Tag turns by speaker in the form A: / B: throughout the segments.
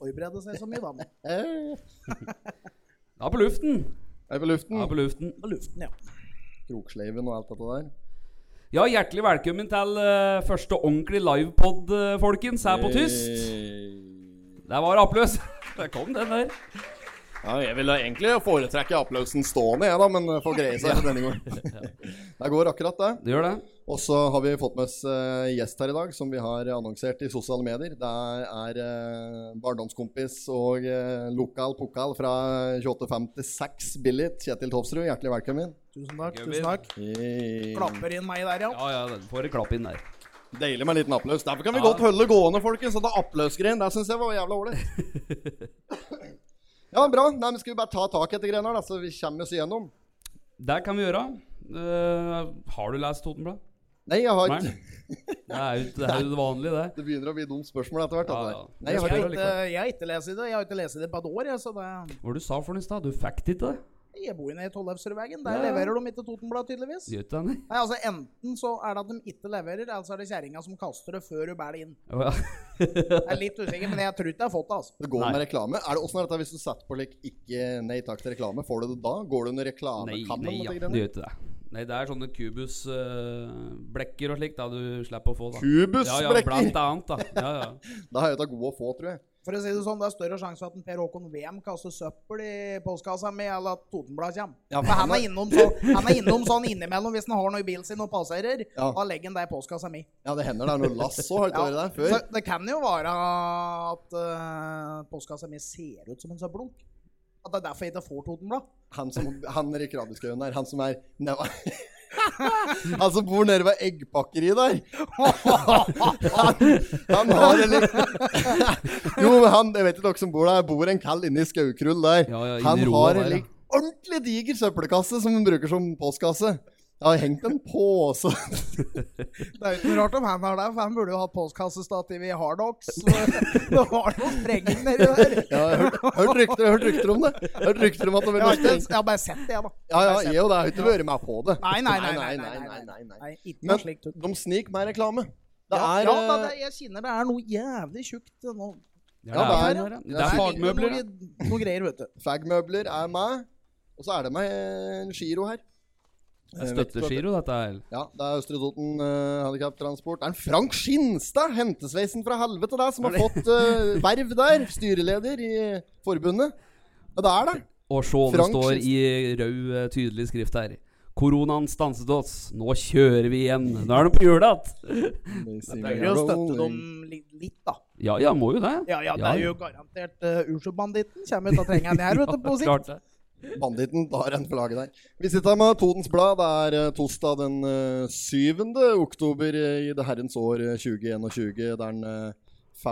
A: forberede seg så mye, da. men-
B: Da på luften.
C: Er på luften.
B: Da på luften.
A: På luften, ja.
C: Kroksleiven og alt dette der.
B: Ja, hjertelig velkommen til eh, første ordentlig livepod, eh, folkens, her på Tyst.
C: Hey.
B: Der var det applaus. Der kom den der.
C: Ja, jeg ville egentlig foretrekke applausen stående, jeg, da, men eh, får greie seg denne gangen. Det går akkurat, det.
B: Det gjør det.
C: Og så har vi fått med oss eh, gjest her i dag, som vi har annonsert i sosiale medier. Det er eh, barndomskompis og eh, lokal pokal fra 2856 Billit, Kjetil Tofsrud. Hjertelig velkommen.
A: Tusen takk.
B: Gøy,
A: tusen takk.
C: Hey.
A: Klapper inn meg der, ja.
B: Ja, ja, den får en klapp inn der.
C: Deilig med en liten applaus. Derfor kan vi
B: Ja.
C: godt holde gående, folkens. Og det applausgreien, det syns jeg var jævla ålreit. ja, bra. Nei, men Skal vi bare ta tak i dette greiene her, da, så vi kommer oss igjennom?
B: Det kan vi gjøre. Eh, har du lest Totenblad?
C: Nei, jeg har
B: Nei.
C: ikke
B: Det er jo det, er jo det vanlige, det.
C: Det begynner å bli dumt spørsmål etter hvert.
B: Ja,
C: dette
B: ja.
C: her. Nei, jeg
A: Jeg
C: har
A: har
C: ikke
B: Spør
A: ikke, jeg har ikke lest det. Jeg har ikke lest det på et år, jeg, så det
B: Hva var det du sa for noe i stad? Du fikk det ikke?
A: Jeg bor jo nede i Tollefsrudvegen.
B: Ja,
A: Der
B: ja.
A: leverer de ikke Totenblad, tydeligvis.
B: Gjør ikke det, nei?
A: Nei, altså Enten så er det at de ikke leverer, eller så er det kjerringa som kaster det før du bærer det inn.
B: Å, ja.
A: Jeg er litt usikker, men jeg tror ikke jeg har fått det. altså.
C: Det går
B: Nei.
C: med reklame. Er det Åssen er dette hvis du setter på like, ikke nei takk til reklame? Får du det da? Går du under
B: Nei,
C: reklamekanalen?
B: nei,
C: og de
B: ja, det
C: greiene?
B: gjør ikke det. Nei, det er sånne kubusblekker og slikt da du slipper å få. da Ja, ja,
C: Kubusbrekker!
B: blant annet, da. Ja, ja.
C: det har jeg tatt god å få, tror jeg.
A: For å si det sånn, Det er større sjanse for at en Per Håkon Wem kaster søppel i postkassa mi, eller at Totenblad kommer.
C: Ja,
A: for han er, innom sånn, han er innom sånn innimellom hvis han har noe i bilen sin og passerer.
C: Ja.
A: Da legger han det i postkassa mi.
C: Ja, det hender det er noe lass òg, har det ikke vært det
A: Så
C: der før?
A: det kan jo være at eh, postkassa mi ser ut som en søppelunk. At det er derfor jeg ikke får Totenblad.
C: Han som han er i Krabbeskøyen der, han som er nede Han som bor nede ved eggpakkeriet der. Han, han har en litt Jo, men han, jeg vet ikke dere som bor der, bor en kall inne i Skaukrull der.
B: Ja, ja, inne i
C: han
B: roa
C: har en
B: der, ja.
C: lik ordentlig diger søppelkasse som han bruker som postkasse. Jeg har hengt en pose
A: Det er jo ikke noe rart om han har det, for han burde jo hatt postkassestativ i Hardox. Det var noen sprenger nedi der.
C: Ja, jeg har hørt, hørt, rykter, hørt rykter om det. Hørt rykter om at det
A: Jeg
C: var
A: har, ikke, jeg har bare sett det, jeg, da.
C: Ja, ja, jeg og deg har ikke vært med på det.
A: Nei, nei, nei. nei, nei, nei, nei, nei, Ikke noe
C: Men-
A: slikt.
C: De sniker med reklame. Det
A: Ja,
C: er
A: ja, da,
C: eh,
A: det, jeg kjenner det er noe jævlig tjukt nå.
C: Ja,
B: Ja, det,
C: det
B: er,
C: er-
B: det er fagmøbler. ja.
A: Noe, noe greier, vet du.
C: Fagmøbler er med. Og så er det med en Giro her.
B: Det er Støttegiro, dette her.
C: Ja, det er Østre Toten uh, Handikaptransport. Det er en Frank Skinstad, hentesveisen fra helvete, der, som har fått eh, verv der. Styreleder i forbundet. Ja, det er det.
B: Og se, det
C: Frank
B: står
C: Skinstad.
B: i rød, eh, tydelig skrift her. Koronaen stanset oss. Nå kjører vi igjen. Nå er det på jula igjen.
A: Det er jo å støtte dem litt, litt, da.
B: Ja, ja, må jo det.
A: Ja, ja, det er jo garantert uh, Ursubanditten. Kommer ut av trengeren her, vet du, på sikt.
B: klart det.
C: Banditten tar en flagge der. Vi sitter her med Todens Blad. Det er eh, torsdag den eh, 7. oktober eh, i det herrens år eh, 2021. Det er den eh,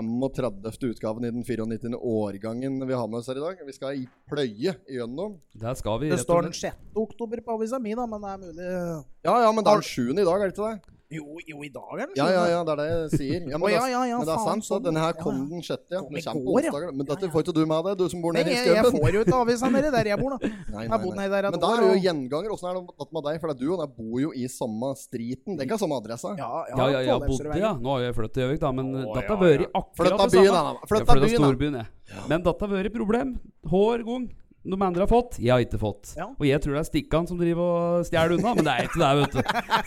C: 35. utgaven i den 94. årgangen vi har med oss her i dag. Vi skal i pløye gjennom.
B: Der skal vi,
A: Det
B: rett
A: står
B: og
A: den
B: slett.
A: 6. oktober på avisa mi, da, men det er mulig eh,
C: Ja, ja, men det er den 7. i dag, er det ikke det?
A: Jo, jo i dag er den
C: Ja, ja, ja, det er det jeg sier.
A: Å,
C: Ja, men, det,
A: ja, ja, ja,
C: men det er
A: faen,
C: sant, så
A: sånn.
C: denne her
A: Ja,
C: kom
A: ja.
C: den sjette, ja.
A: Kom
C: Men
A: i
C: kommer på
A: går, ja.
C: onsdager, da. Men dette får ikke du med deg, du som bor
A: Nei,
C: nede i
A: jeg, jeg
C: skauen.
A: får jo ikke avisa nedi der jeg bor, da.
C: Nei,
A: Jeg
C: nei,
A: har bodd
C: nei.
A: nedi der et
C: Men der
A: år.
C: er du jo
A: og-
C: gjenganger. Åssen er det tatt med deg? For det er du og jeg bor jo i samme striten. Det er ikke samme adresse.
A: Ja,
B: Ja, ja, ja, bodde,
A: Tollefsrudveien.
B: ja. Nå har jeg flyttet til Gjøvik, da, men
A: Å,
B: dette har
A: ja,
B: vært
A: ja.
B: akkurat
C: Flytta
B: det samme.
C: byen, da, da.
B: Jeg
C: Flytta
B: flyttet
C: byen, da.
B: storbyen, jeg. Men dette har vært problem. Hver gang de andre har fått, jeg har ikke fått.
A: Ja.
B: Og jeg tror det er Stikkan som driver og stjeler unna, men det er ikke det, vet du.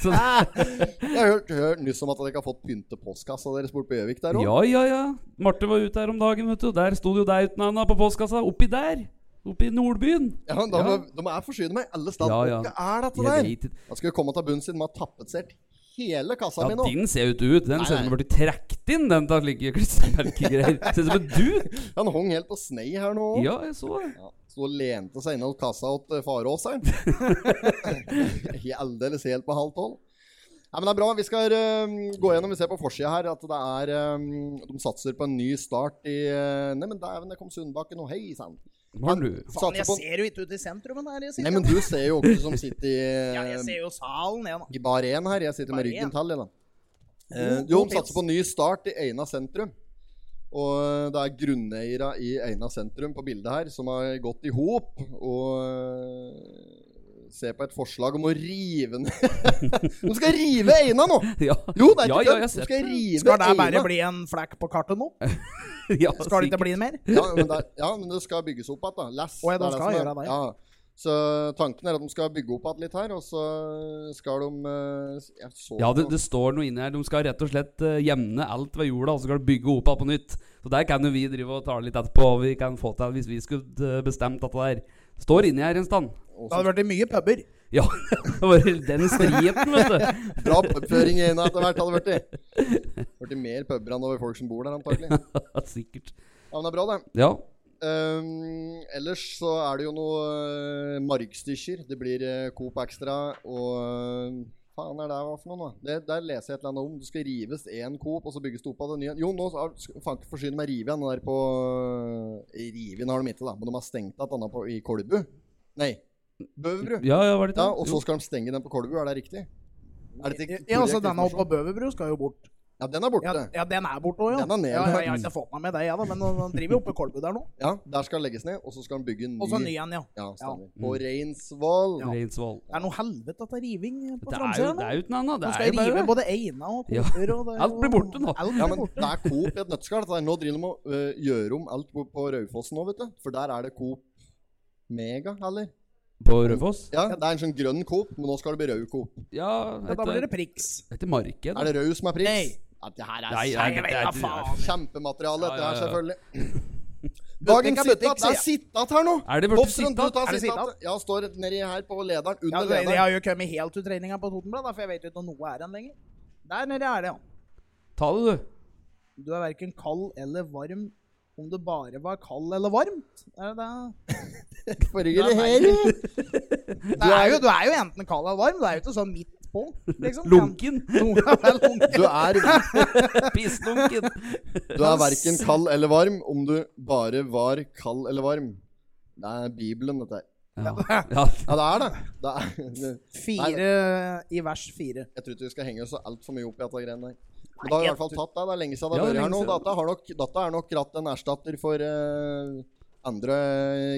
B: Så,
C: Jeg har hørt, hørt nyss om at dere ikke har fått pynte postkassa deres borte på Gjøvik der òg.
B: ja, ja, ja. Marte var ute her om dagen, vet du. Der sto det jo deg uten annet på postkassa. Oppi der. Oppi Nordbyen.
C: Ja, de,
B: Ja.
C: de er forsyne med alle steder.
B: Ja, ja.
C: Hva er dette
B: Jeg
C: der?
B: vet ikke.
C: Da skal vi komme til bunns i den. De har tapetsert hele kassa
B: Ja,
C: mi nå.
B: din ser jo ikke ut. Den
C: Nei,
B: ser ut som
C: nei.
B: den ble trukket inn, den av slike klistremerkegreier. Ser ut som en duk.
C: Han hang helt på snei her nå.
B: Ja, jeg så det.
C: Ja, så hun lente seg innom kassa eh, til Farås her. Ikke Aldeles helt på halv tolv. Nei, men det er bra. Vi skal eh, gå gjennom Vi ser på forsida her at det er eh, De satser på en ny start i eh, Nei, men dæven, det kom Sundbakken og hei sann.
B: Var du?
A: Faen, jeg
C: Satser på
A: ser jo ikke ut i sentrum her. Jeg sitter.
C: Nei, men du ser jo ikke som sitter i,
A: ja, jeg
C: eh,
A: ser jo salen, jeg, da.
C: i bar én her. Jeg sitter
A: Bar
C: med ryggen
A: én.
C: til, jeg, da. Eh,
A: God-
C: jo,
A: god
C: de satser
A: pils.
C: på ny start i Eina sentrum. Og eh, det er grunneiere i Eina sentrum på bildet her som har gått i hop og eh, se på et forslag om å rive ned De skal rive Eina nå!
B: Ja,
C: Jo, det er
B: Ja,
C: ikke
B: ja,
C: kødd.
B: jeg har
C: De
B: sett
C: skal rive
A: Skal det bare
C: Eina.
A: bli en flekk på kartet nå?
B: ja,
A: Skal det ikke
B: sikkert.
A: bli mer?
C: Ja, men det, ja, men det skal bygges opp igjen, da. Less.
A: Å, ja, de
C: er
A: skal
C: som er-
A: gjøre det,
C: Ja. Så tanken er at de skal bygge opp igjen litt her, og så skal de eh, jeg så
B: Ja, det, det står noe inni her. De skal rett og slett eh, jevne alt ved jorda, og så skal de bygge opp alt på nytt. Så der kan jo vi drive og ta litt etterpå, og vi kan få til hvis vi skulle eh, bestemt dette der. Står inni her en stand.
A: Det hadde vært mye puber.
B: Ja, det var den striden, vet du.
C: Bra pubføring i Eina etter hvert hadde det vært. i. Vært i mer puber enn over folk som bor der, antakelig. Ja,
B: Sikkert.
C: men det er bra, det.
B: Ja.
C: Ehm, ellers så er det jo noe uh, margstykker. Det blir eh, Coop Extra og eh, Faen er det hva for noe, da? Det, der leser jeg et eller annet om. Det skal rives én Coop, og så bygges det opp av det nye. Jo, nå har- skal- faen ikke forsyne meg rive igjen. Den der på eh, Riven har de ikke, da. Men de har stengt igjen denne på- i Kolbu. Nei, Bøverbru.
B: Ja, ja, var det
C: Ja,
B: ikke
C: og
B: det?
C: så skal de stenge den på Kolbu. Er det riktig? Er det ikke
A: Ja, altså
C: korrekt
A: Denne oppe på
C: informasjon?
A: Bøverbru skal jo bort.
C: Ja, den er borte.
A: Ja, ja den er borte òg, ja.
C: Den er nede.
A: ja, ja. Jeg har ikke fått meg med det, jeg, da. Men han driver jo oppe i Kolbu der nå.
C: Ja, Der skal den legges ned, og så skal den bygge en ny.
A: Og så ny en, ja. Mm.
C: Ja, stemmer.
B: Ja.
C: På Reinsvoll.
B: jo Reinsvoll.
A: Det er noe helvete av riving på
B: Det er jo
A: framsida
B: det
A: nå.
B: er jo uten annet.
A: Nå
B: Det
A: skal
B: er
A: jeg
B: jo
A: rive
B: bare
A: både Eina og
B: Ja.
A: Koper og det er
B: Alt blir
A: jo-
B: borte nå.
A: Alt blir
C: Ja, men
A: borte.
C: det er Coop i et nøtteskall. dette her. Nå driver de og øh, gjør om alt bort på Raufossen òg, vet du. For der er det Coop Mega, eller?
B: På Raufoss?
C: Ja, det er en sånn grønn Coop, men nå skal det bli rød Coop.
B: Ja,
A: Ja, da blir det
B: etter,
A: priks.
B: etter marked.
C: Er det rød som er
A: Nei.
C: pris? Ja, det her er
B: Nei,
C: kjem-
B: nei,
A: Jeg
B: det-
A: vet da
B: det-
A: faen.
C: kjempemateriale, dette
B: Ja, ja,
C: her,
B: ja.
C: selvfølgelig.
A: Butikk
C: Dagens
A: er butikk,
C: sittat, det
A: sier
C: er sittat her nå!
B: Er det blitt
C: Hofstrøm,
B: sittat?
C: du tar
A: Er det
C: sittat. Ja, står nedi her på lederen,
A: Ja,
C: under
A: det, jeg
C: lederen.
A: har jo kommet helt ut treninga på Totenbladet, for jeg vet jo ikke om noe er igjen lenger. Der nede er det, ja.
B: Ta det, du.
A: Du er verken kald eller varm. Om det bare var kald eller varmt? Er det det?
C: Farger
A: Ja,
C: det
A: nei.
C: her?
A: Du er jo, du er jo enten kald eller varm. Du er jo ikke sånn midt på, liksom.
B: Lunken.
A: Noe er lunken.
C: Du er,
B: Pisslunken.
C: du er verken kald eller varm om du bare var kald eller varm. Det er Bibelen, dette her.
B: Ja. ja.
C: Ja, det er det. det, er, det
A: Fire i vers fire.
C: Jeg tror ikke vi skal henge oss altfor mye opp i dette greiene der. Men da har vi i hvert fall tatt det. Det er lenge siden det
B: Ja,
C: har
B: det er
C: vært her nå.
B: lenge siden.
C: Dette, har nok, dette er nok ratt en erstatter for eh, andre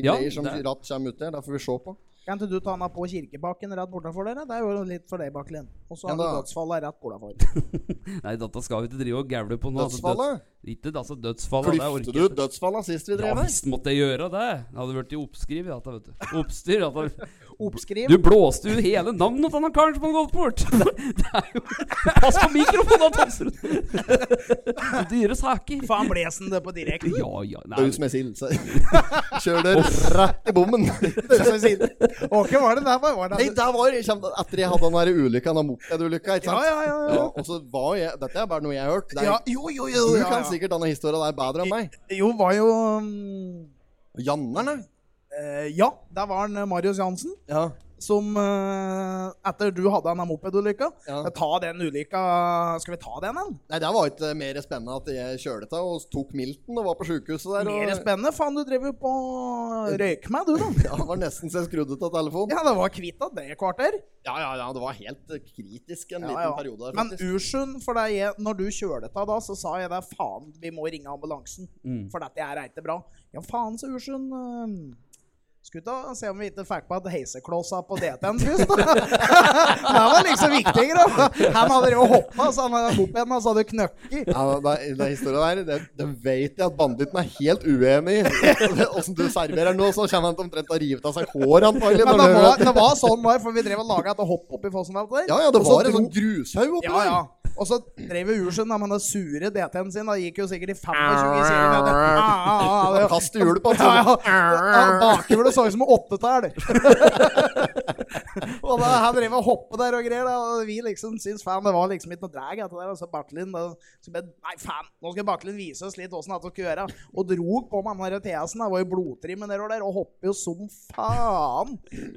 B: Ja,
C: greier som
B: det-
C: ratt kommer ut der. Det får vi se på.
A: Kan ikke du ta den på kirkebakken rett bortenfor dere? Det er jo litt for deg, Baklien. Og så har
C: Ja,
A: du
C: da.
A: dødsfallet rett bortenfor.
B: Nei, dette skal vi ikke drive og gaule på nå. altså,
C: Dødsfallet?
B: døds- Ikke altså dødsfallet. det orker
C: Klyfte du
B: jeg
C: ut dødsfallet sist vi
B: Ja
C: drev her?
B: visst måtte jeg gjøre det. Det hadde vært i oppskriv. Dette, vet du. Oppstyr. Dette.
A: Oppskriv.
B: Du blåste jo hele navnet til han karen som hadde gått bort! Det, det er jo Pass på mikrofonen, da, Tomsrud! Dyre saker.
A: Faen, blesen det på direkten?
B: Ja, ja. Nei.
C: Daus med sild. så- Kjør det rett i bommen. Nei,
A: Åke, var det der? Var det
C: der var jeg kjem- Etter jeg hadde den der ulykka, den mopedulykka, ikke
A: Ja,
C: sant?
A: ja, ja. ja.
C: Ja, og så var jeg Dette er bare noe jeg har hørt. Det
A: ja
C: er,
A: jo, jo, jo.
C: du
A: ja,
C: kan
A: ja.
C: sikkert denne historien der bedre enn meg.
A: Jo, var jo um,
C: Jannerne?
A: eh, Ja, der var han eh, Marius Jansen.
C: Ja.
A: Som eh, etter du hadde denne mopedulykka
C: ja.
A: Ta den ulykka Skal vi ta den, eller?
C: Nei, det var ikke mer spennende at jeg kjølte til og tok milten og var på sjukehuset der. Og,
A: Mer spennende. Faen, du drev jo på røyk meg, du, da.
C: Ja, det var nesten så jeg skrudde av telefonen.
A: Ja, det var kvitt av det i kvarter.
C: Ja, ja, ja, det var helt eh, kritisk en
A: Ja,
C: liten
A: ja.
C: periode der,
A: Men
C: faktisk.
A: urskyld for deg, jeg- når du kjølet av da, så sa jeg det, faen, vi må ringe ambulansen,
B: Mm.
A: for dette er ikke bra. Ja, faen, så urskyld. ehm, Skulle ta se om vi ikke fikk på et heiseklossa på DT-en først, da. det var liksom viktigere. da. Han hadde jo hoppa, så han hadde mopeden, og så hadde knøkket.
C: Ja, det, det historien der, det, det vet jeg at banditten er helt uenig i. Åssen du serverer nå, så kommer han til omtrent til å rive av seg håret, antagelig.
A: Men
C: når
A: det
C: du-
A: var, det var sånn var, for vi drev og laga et hopp oppi fossen der.
C: Ja, ja, det
A: Og så
C: var en
A: dro-
C: sånn grushaug oppi
A: Ja, ja. Og så drev jo Ursund med den sure DT-en sin. Da gikk jo sikkert i 25 km. Ah, ah, ah,
C: der.
A: det-
C: Kaste hjulet på
A: Ja,
C: han.
A: ja. Ja, Bakhjulet så ut som en åttetall. og da han drev og hoppet der og greier, da, og vi liksom syntes faen, det var liksom ikke noe drag etter det. Og så Bartlin da, så ble, Nei, faen, nå skal Bartlin vise oss litt åssen dette skulle gjøre. Og dro på med han der Theasen. Han var jo blodtrimmen der og der, og hoppet jo som faen.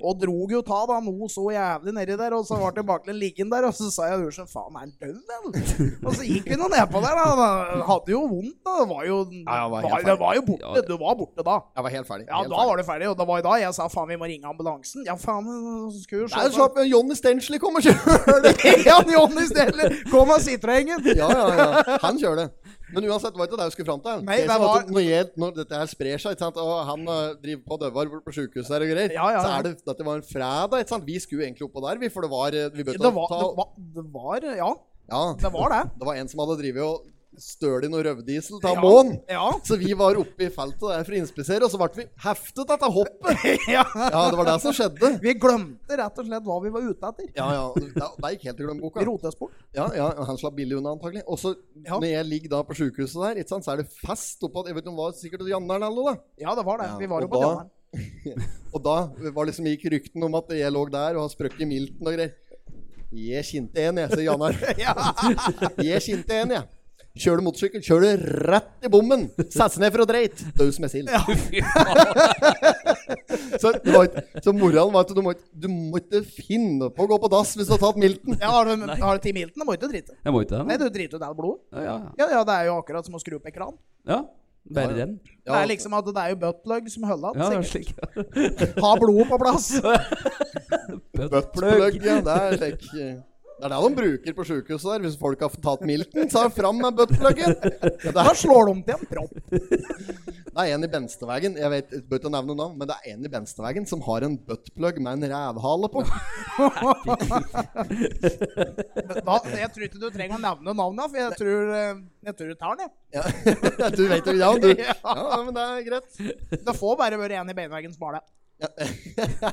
A: Og dro jo ta da noe så jævlig nedi der, og så var det Bartlin liggende der, og så sa jeg Ursen, faen, er han død, vel? Og så gikk vi nå nedpå der, da. Han hadde jo vondt, da. Det var jo,
C: Ja, han var helt
A: var, det var jo
B: Ja,
A: borte.
B: det-
A: Du var borte da.
C: Jeg var helt ferdig.
A: Ja, da var det ferdig, og det var i dag jeg sa faen, vi må ringe ambulansen. Ja, faen, så skulle vi
C: Nei,
A: se
C: så
A: på-
C: at Johnny Stensley kommer og kjører det.
A: Ja, Johnny Stelle, kom og sitt deg, Engen!
C: Ja, ja, ja. Han kjører det. Men uansett, var ikke det jeg skulle fram til?
A: Nei,
C: Det som
A: det
C: er
A: var-
C: at når, jeg, når dette her sprer seg, ikke sant? og han eh, driver på døvar på sjukehuset her og greier,
A: Ja, ja,
C: så
A: ja.
C: er det dette var en fredag. Ikke sant? Vi skulle egentlig oppå der, vi, for det var eh, Vi
A: Det
C: bøtte
A: var, det, var, det var Ja,
C: Ja,
A: det var det.
C: det var en som hadde drevet og stølt i noe røvdiesel til
A: Ja.
C: månen.
A: Ja.
C: Så vi var oppe i feltet der for å inspisere, og så ble vi heftet etter hoppet.
A: ja.
C: Ja, det var det som skjedde.
A: Vi glemte rett og slett hva vi var ute etter.
C: Ja, ja. Det, det gikk helt i glemmeboka.
A: Vi rotet oss bort.
C: Ja, ja, han slapp billig unna antagelig. Og så
A: Ja.
C: når jeg ligger da på sykehuset der, ikke sant, så er det fest oppå Jeg vet ikke om det var sikkert Janneren eller noe, da.
A: Ja, det var det.
C: Ja,
A: Vi var jo
C: og
A: på
C: da-
A: Trondheim.
C: Og da var liksom gikk ryktene om at jeg lå der og har sprøkket i milten og greier. Jeg kjente en, jeg, sier Janneren.
A: Ja.
C: Jeg kjente en, jeg. Kjører du motorsykkel, kjører du rett i bommen. Sett seg ned for å dreit. Døs med sild.
B: Fy faen.
C: Så, det var ikke- så moralen var at du må, ikke- du må ikke finne på å gå på dass hvis du har tatt milten.
A: Ja, har du, har du ti milten, da må du ikke drite.
B: Jeg må ikke
A: Nei,
B: det.
A: du driter jo der blodet.
B: da. Ja, ja.
A: Ja, ja, det er jo akkurat som å skru opp en kran.
B: ja.
C: Ja,
B: Bare
C: ja.
B: renn.
A: Det er liksom at det er jo buttplug som holder
B: Ja, det
A: an.
B: er
A: sikkert. Sånn
B: slik.
A: Ha blodet på plass.
C: Buttplug, ja. Det er slik eh, Det er det de bruker på sjukehuset der. Hvis folk har tatt milten, så er det fram med buttpluggen. Ja, Det,
A: Da slår de om til en propp.
C: er- det er en i Benstevegen, jeg vet, jeg bør ikke nevne navn, men det er en i Benstevegen som har en buttplug med en rævhale på.
A: Men Da, jeg tror ikke du trenger å nevne navnet, for jeg tror, eh, jeg tror du tar den, jeg.
C: Ja, du vet jo, ja, du. Ja, men det er greit.
A: Det får bare være én i beinveggen som har det.
C: Ja.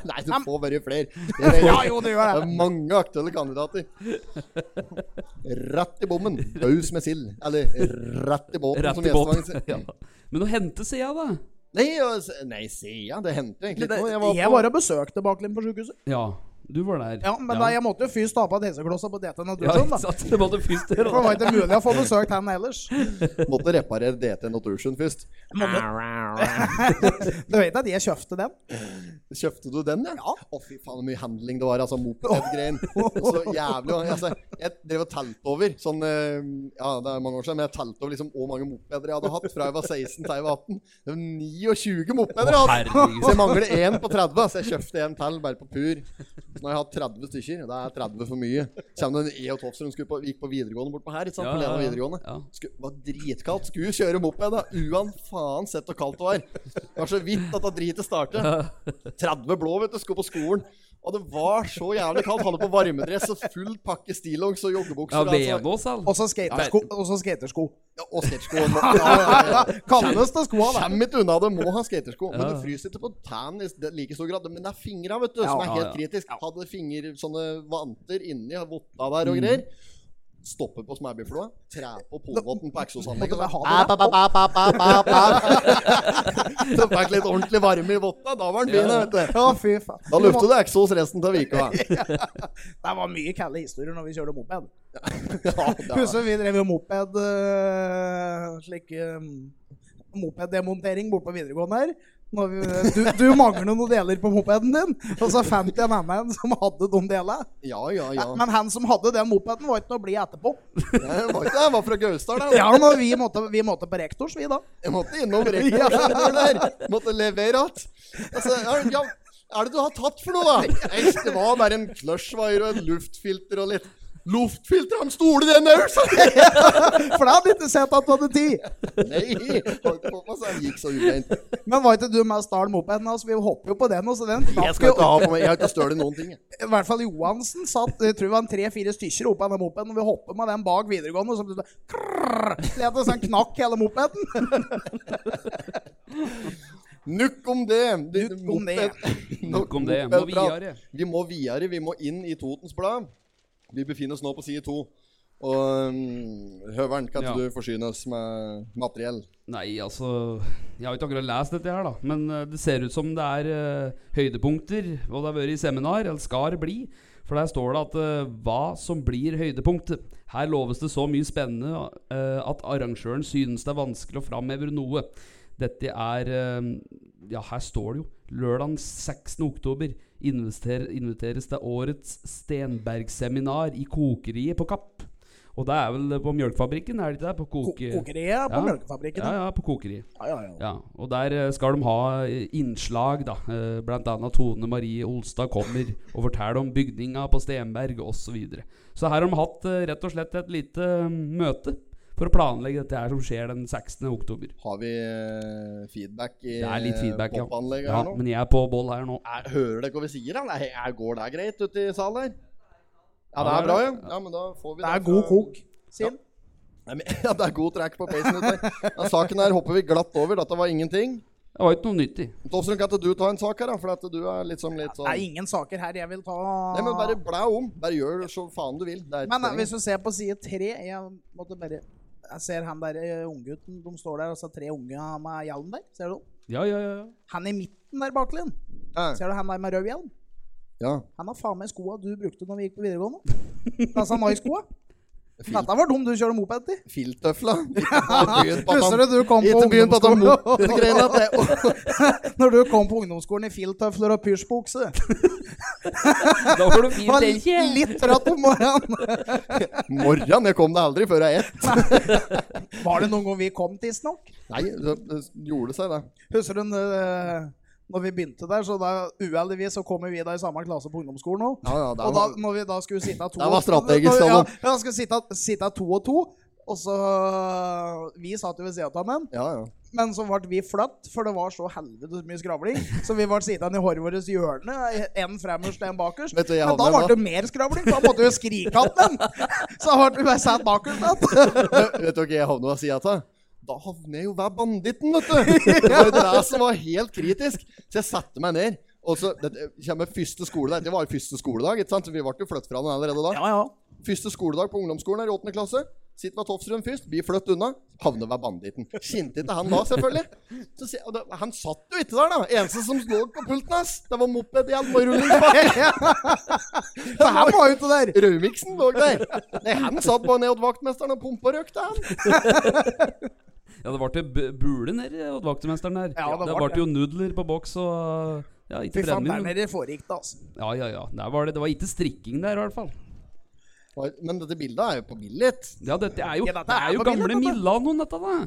C: Nei, du får bare flere. Jeg vet-
A: Ja, jo, det gjør det.
C: Det er mange aktuelle kandidater. Rett i bommen. Baus med sild. Eller rett i båten,
B: Rett
C: som
B: i båten.
C: Gjestevangen sier.
B: Ja. Men å hente, sier jeg da.
C: Nei, og s- nei, sier jeg. Det hendte jo egentlig ikke noe. Jeg var
A: Jeg var og besøkte Baklund på sykehuset.
B: Ja, du var der.
A: Ja, men Da, jeg måtte jo fyrst ta på et helseklossa på DT
B: ja,
A: Natursund,
B: ikke
A: da.
B: sant? Det var det første.
A: For det var ikke mulig å få besøkt han ellers.
C: på måtte reparere DT Natursund først.
A: Du vet at jeg kjøpte den?
C: Kjøpte du den, ja?
A: Ja.
C: Å, fy faen, så mye handling det var. Altså, moped-greien. Så jævlig. Altså, jeg drev og telte over sånn eh, Ja, det er mange år siden, men jeg telte over liksom hvor mange mopeder jeg hadde hatt fra jeg var 16 til jeg var 18. Det var 29 mopeder jeg hadde! Så jeg
B: Herregud.
C: mangler én på 30, så jeg kjøpte en til bare på pur. Så nå har jeg hatt 30 stykker. Det er 30 for mye. Kommer det en E og Tofser, hun skulle på, gikk på videregående bortpå her. Ikke sant? På Lena videregående.
B: Ja.
C: Skulle, var dritkaldt. Skulle kjøre moped, da. Uan faen sett hvor kaldt det var. Det var så vidt at det dritet startet. 30 blå, vet du. Skulle på skolen. Og det var så jævlig kaldt. Hadde på varmedress og full pakke stillongs og
B: Ja,
C: joggebukser. altså.
B: Venås, all.
A: Og så skatersko. Og så skatersko.
C: Ja, og skatesko. Ja, ja, ja.
A: Kalles det skoa, da.
C: Kommer ikke unna det, må ha skatersko. Men
B: Ja.
C: du fryser ikke på tærne i s- like stor grad. Men det er fingra, vet du,
A: Ja,
C: som er
B: ja,
C: helt
B: ja.
C: kritisk. Hadde finger, sånne vanter inni votta der
B: Mm.
C: og greier. Stopper på smærbifloa, tre på polvotten på eksosanlegget.
A: Måtte
C: og
A: vi ha det
C: så- Ba, ba, ba, ba, ba, ba, ba. Så fikk litt ordentlig varme i votta. Da var den fin,
B: Ja.
C: vet du.
A: Å, fy faen.
C: Da luftet det eksos resten av vika.
A: Det var mye kalde historier når vi kjørte moped.
C: Ja, det er-
A: Husker vi drev jo moped øh, slik øh, mopeddemontering borte på videregående her. Når vi, du, du mangler noen deler på mopeden din, og så fant jeg en annen som hadde de delene.
C: ja, ja. ja.
A: Men han som hadde den mopeden, var ikke noe blid etterpå.
C: Det var, ikke- det var fra Gausdal, da.
A: Ja, men vi måtte, vi måtte på rektors, vi da.
C: Jeg måtte innom rekreasjonen der. Måtte levere att. Altså, ja, ja, er det du har tatt for noe, da? Nei, det var bare en clushwire og en luftfilter og litt Luftfilter? Han stoler den òg, sa jeg!
A: For da hadde jeg ikke sett at du hadde tid.
C: Nei, holdt på med, så han gikk så ureint.
A: Men var ikke du med og stjal mopeden? Altså, vi hopper jo på den. Og så den
C: Jeg
A: knakk
C: skal
A: jo,
C: ikke ha på meg Jeg har ikke støl i noen ting. jeg.
A: I hvert fall Johansen satt jeg tror det var en tre-fire stykker oppe av den mopeden. Og vi hopper med den bak videregående, og så ble det krrrr, lete, så han knakk hele mopeden.
C: Nukk om det. det
A: Nukk om det.
C: moped-
B: Nok om det. Må
C: mopedprat.
B: videre.
C: Vi må videre, vi må inn i Totens Blad. Vi befinner oss nå på side to. Og um, Høveren, kan ikke
B: Ja.
C: du forsyne oss med materiell?
B: Nei, altså Jeg har jo ikke akkurat lest dette her, da. Men eh, det ser ut som det er eh, høydepunkter hva det har vært i seminar, eller skal bli. For der står det at eh, hva som blir høydepunktet. Her loves det så mye spennende eh, at arrangøren synes det er vanskelig å framheve noe. Dette er eh, Ja, her står det jo. Lørdag 16. oktober inviter, inviteres til årets Stenberg-seminar i Kokeriet på Kapp. Og det er vel på Mjølkefabrikken, er det ikke det? På
A: Ko-
B: koke...
A: Kokeriet på
B: Ja.
A: mjølkefabrikken.
B: Ja, ja, på kokeri.
A: Ja, ja, ja.
B: Ja, og der eh, skal de ha eh, innslag, da. Eh, Blant annet Tone Marie Olstad kommer og forteller om bygninga på Stenberg osv. Så, videre. så her har de hatt eh, rett og slett et lite eh, mm, møte for å planlegge dette her som skjer den 16. oktober.
C: Har vi eh, feedback i
B: Det er litt feedback,
A: Eh,
B: ja.
C: popanlegget
B: ja
C: her nå?
B: men jeg er på boll her nå.
C: Er, hører dere hva vi sier? da? Nei, er, går det greit ute i salen her? Ja, det
B: Ja, det
C: er
B: er
C: bra, ja. ja men da får vi
A: Det er
C: fra-
A: god kok, Sim.
C: Nei, men- Ja, det er god track på pacen. ute. Ja, saken her hopper vi glatt over. Dette var ingenting.
B: Det var ikke noe nytt i.
C: Tofstrøm, kan ikke du ta en sak her, da? For at du er liksom litt sånn
A: Det er ingen saker her jeg vil ta
C: Nei, men bare bla om. Bare gjør så faen du vil. Det er ikke
A: Men eh,
C: poenget.
A: hvis du ser på side tre Jeg måtte bare Jeg ser han der eh, unggutten. De står der, og så er tre unge med hjelm der. Ser du?
B: Ja, ja, ja. ja.
A: Han i midten der, Bartlin.
C: ja.
A: Ser du han der med rød hjelm?
C: ja.
A: Han har faen meg skoa du brukte når vi gikk på videregående. Altså, Disse Nike-skoa.
C: Fint.
A: Dette var dum du kjører moped i.
C: Filtøfla.
A: Husker du du kom på
C: Ikke begynn på at han
A: ungdomsskolen?
C: motorgreiene. at det-
A: Når du kom på ungdomsskolen i filttøfler og pysjbukse.
B: Da får du fint
A: Var
B: elkje.
A: litt trøtt om morgenen.
C: Morran, jeg kom deg aldri før jeg er ett.
A: Var det noen gang vi kom tidsnok?
C: Nei, det, det gjorde seg, det.
A: Husker du når, når vi begynte der, så da uheldigvis så kommer vi da i samme klasse på ungdomsskolen nå.
C: Ja, ja, det
A: Og da,
C: var,
A: når vi da skulle sitte to
C: Det var strategisk, sånn.
A: når vi-
C: Stallone.
A: Ja, ja, skulle sitte, sitte to og to. Og så Vi satt jo ved siden av dem.
C: ja, ja.
A: Men så ble vi flatt, for det var så helvetes mye skravling. Så vi ble sittende i håret vårt hjørne, en fremmest og en bakerst.
C: Vet du, jeg
A: Men da ble
C: hadde en, da.
A: det mer skravling, da måtte vi jo skrike at den. Så da ble vi bare satt bakerst igjen.
C: Vet dere hva jeg havna ved sida av? Da havner jeg jo hver banditten, vet du! Det var jo det som var helt kritisk. Så jeg satte meg ned. Og så dette kommer første skoledag. Det var jo første skoledag, ikke sant? Så vi ble jo flyttet fra den allerede da.
A: ja.
C: Første skoledag på ungdomsskolen her i åttende klasse. Sitter ved Tofstrøm først, blir flyttet unna. Havner ved banditten. Skinte ikke han da, selvfølgelig. Så sier- og det, han satt jo ikke der, da. Eneste som lå på pulten hans, det var mopedhjelm og rullingspakke.
A: Så her var jo ikke der.
C: Raumiksen lå der. Nei, han satt bare ned hos vaktmesteren og pumpa røyk til han.
B: Ja, det ble til bu- bule nede hos vaktmesteren her.
A: Ja, det
B: det
A: ble
B: ble jo nudler på boks og ja, ikke
A: Fy faen, der
B: brennevin. men-
A: nede foregikk det, altså.
B: Ja, ja, ja. Der var det. det var ikke strikking der, i hvert fall.
C: Men dette bildet er jo på Billit.
B: Ja, dette er jo,
A: Ja, dette
B: det
A: er
B: er jo
A: på
B: gamle
A: bildet, dette.
B: Milanoen, dette, da.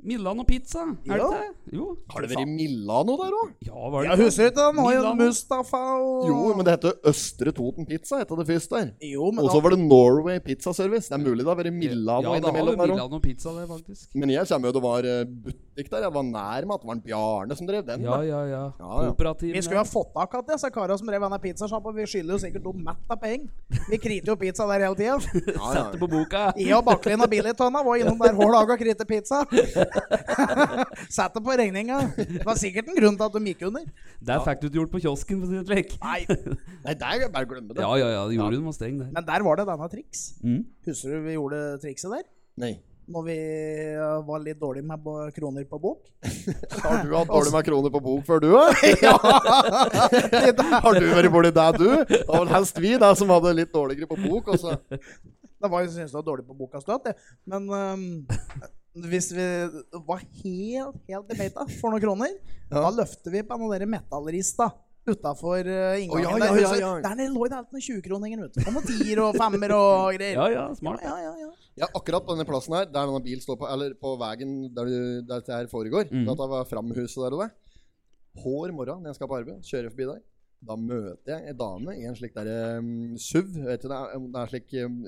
B: Milano pizza, er det
A: Ja.
B: ikke det? Jo.
C: Har det vært i Milano der òg?
B: Ja, var
A: Ja,
B: det det?
A: husker du ikke han har jo
B: Milan.
A: Mustafa og
C: Jo, men det heter Østre Toten Pizza. heter det først der.
A: Jo, men
C: Og så
A: da
C: var det Norway Pizza Service. Det er mulig det har vært Milano
B: ja, det har jo
C: innimellom der òg.
B: Milano pizza der, faktisk.
C: Men jeg kommer jo det var eh, butikk der. Jeg var nær med at det var en Bjarne som drev den.
B: Ja,
C: da.
B: ja, ja.
C: Ja, ja.
B: Kooperativ.
A: vi skulle jo ha fått tak i disse karene som rev av den pizzasjappa. Vi skylder jo sikkert dem mett av penger. Vi kriter jo pizza der hele tida.
C: Ja, ja.
B: Sette på boka.
A: Jeg og Bakklin og Billittønna var innom der hver dag og kritte pizza. Satt det på regninga. Det var sikkert en grunn til at de gikk under.
B: Der fikk du ikke gjort på kiosken, for å si det slik.
A: Nei,
C: Nei, det er jo bare å glemme det.
B: Ja, ja, ja. Jorunn var streng der.
A: Men der var det denne triks.
B: Mm.
A: Husker du vi gjorde trikset der?
C: Nei.
A: Når vi eh, var litt dårlige med bo- kroner på bok.
C: Har du hatt dårlig med kroner på bok før, du òg? Har du vært borti det, du? Det var vel helst vi da, som hadde litt dårligere på bok. Og så
A: Det var jo synes det var dårlig på boka støtt, det. Men ehm, hvis vi var helt, helt i beita for noen kroner,
C: Ja.
A: da løfter vi på noen der metallrista utafor eh, inngangen. der.
C: Å, ja, ja, ja,
A: Husker du?
C: ja.
A: Der nede lå det alltid noen 20-kroninger ute. Og noen tier og femmer og greier.
B: Ja, ja, smart.
A: ja, ja, ja.
C: Ja, akkurat på denne plassen her, der denne bilen står på, eller på veien der, du- der dette her foregår,
B: Mhm.
C: dette var framhuset der og der, hår morgen når jeg skal på arbeid, kjører jeg forbi der, da møter jeg en dame i en slik der um, SUV, vet du, det er, det er slik um,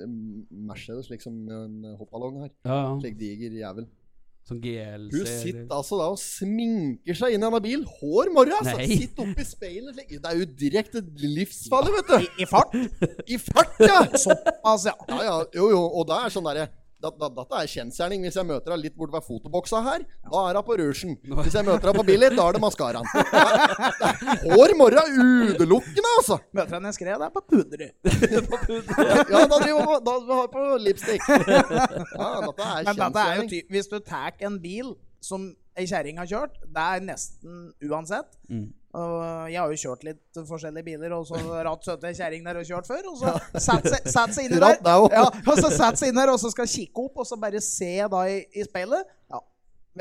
C: Mercedes, slik som en hoppballong her,
B: Ja, ja.
C: slik diger jævel.
B: Sånn GLC.
C: Hun sitter altså da og sminker seg inn i denne bil, hår morgen, altså,
B: Nei.
C: sitter oppe i speilet, slik. det er jo direkte livsfarlig, vet du,
A: I, I fart?
C: i fart, ja!
A: Såpass, ja.
C: Ja, ja, jo, jo, og det er sånn derre da- da- Dette er kjensgjerning. Hvis jeg møter deg litt bort ved fotoboksa her, da er hun på rougen. Hvis jeg møter deg på Billit, da er det maskaraen. Hår morra utelukkende, altså!
A: Møter henne jeg skrev der på Pudderud.
C: Ja, da driver hun da har hun på lipstick. Ja, dette er
A: Men dette er jo
C: kjensgjerning.
A: ty Hvis du tar en bil som ei kjerring har kjørt, det er nesten uansett.
B: Mm.
A: Og jeg har jo kjørt litt forskjellige biler, og så ratt søte ei kjerring der og kjørt før. Og så satt seg, satt seg inni der,
C: Ratt deg opp.
A: ja, og så satt seg inn der, og så skal kikke opp, og så bare se da i, i speilet. Ja,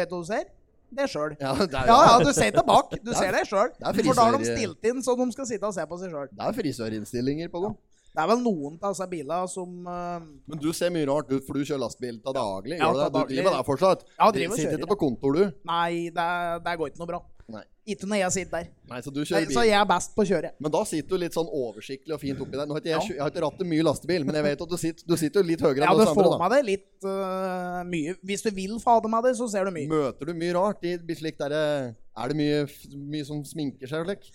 A: vet du hva du ser? Det sjøl.
C: Ja, det er,
A: Ja, ja,
C: ja.
A: du ser tilbake. Du ser deg sjøl.
C: det er
A: For da har de
C: frisør-
A: stilt inn så de skal sitte og se på seg sjøl.
C: det er frisørinnstillinger på dem.
A: Det er vel noen av disse bilene som eh,
C: Men du ser mye rart ut, for du kjører lastebil til daglig.
A: Ja,
C: Gjør du det?
A: til
C: Du
A: daglig.
C: driver der fortsatt?
A: Ja,
C: Du
A: driver og
C: sitter
A: kjører,
C: ikke på kontor, du.
A: Nei, det, det går ikke noe bra.
C: Nei.
A: Ikke når jeg sitter der.
C: Nei, så du
A: Nei,
C: kjører
A: Eh, Så
C: bil.
A: jeg er best på å kjøre.
C: Men da sitter du litt sånn oversiktlig og fint oppi der. Nå har ikke jeg,
A: Ja.
C: kjø- jeg har ikke rattet mye lastebil, men jeg vet at du sitter, du sitter jo litt høyere
A: Ja,
C: enn
A: du
C: oss
A: får
C: andre.
A: med deg litt øh, mye. Hvis du vil fade med deg, så ser du
C: da.
A: mye.
C: Møter du mye rart i slik der eh, Er det mye, f- mye som sminker seg og slik?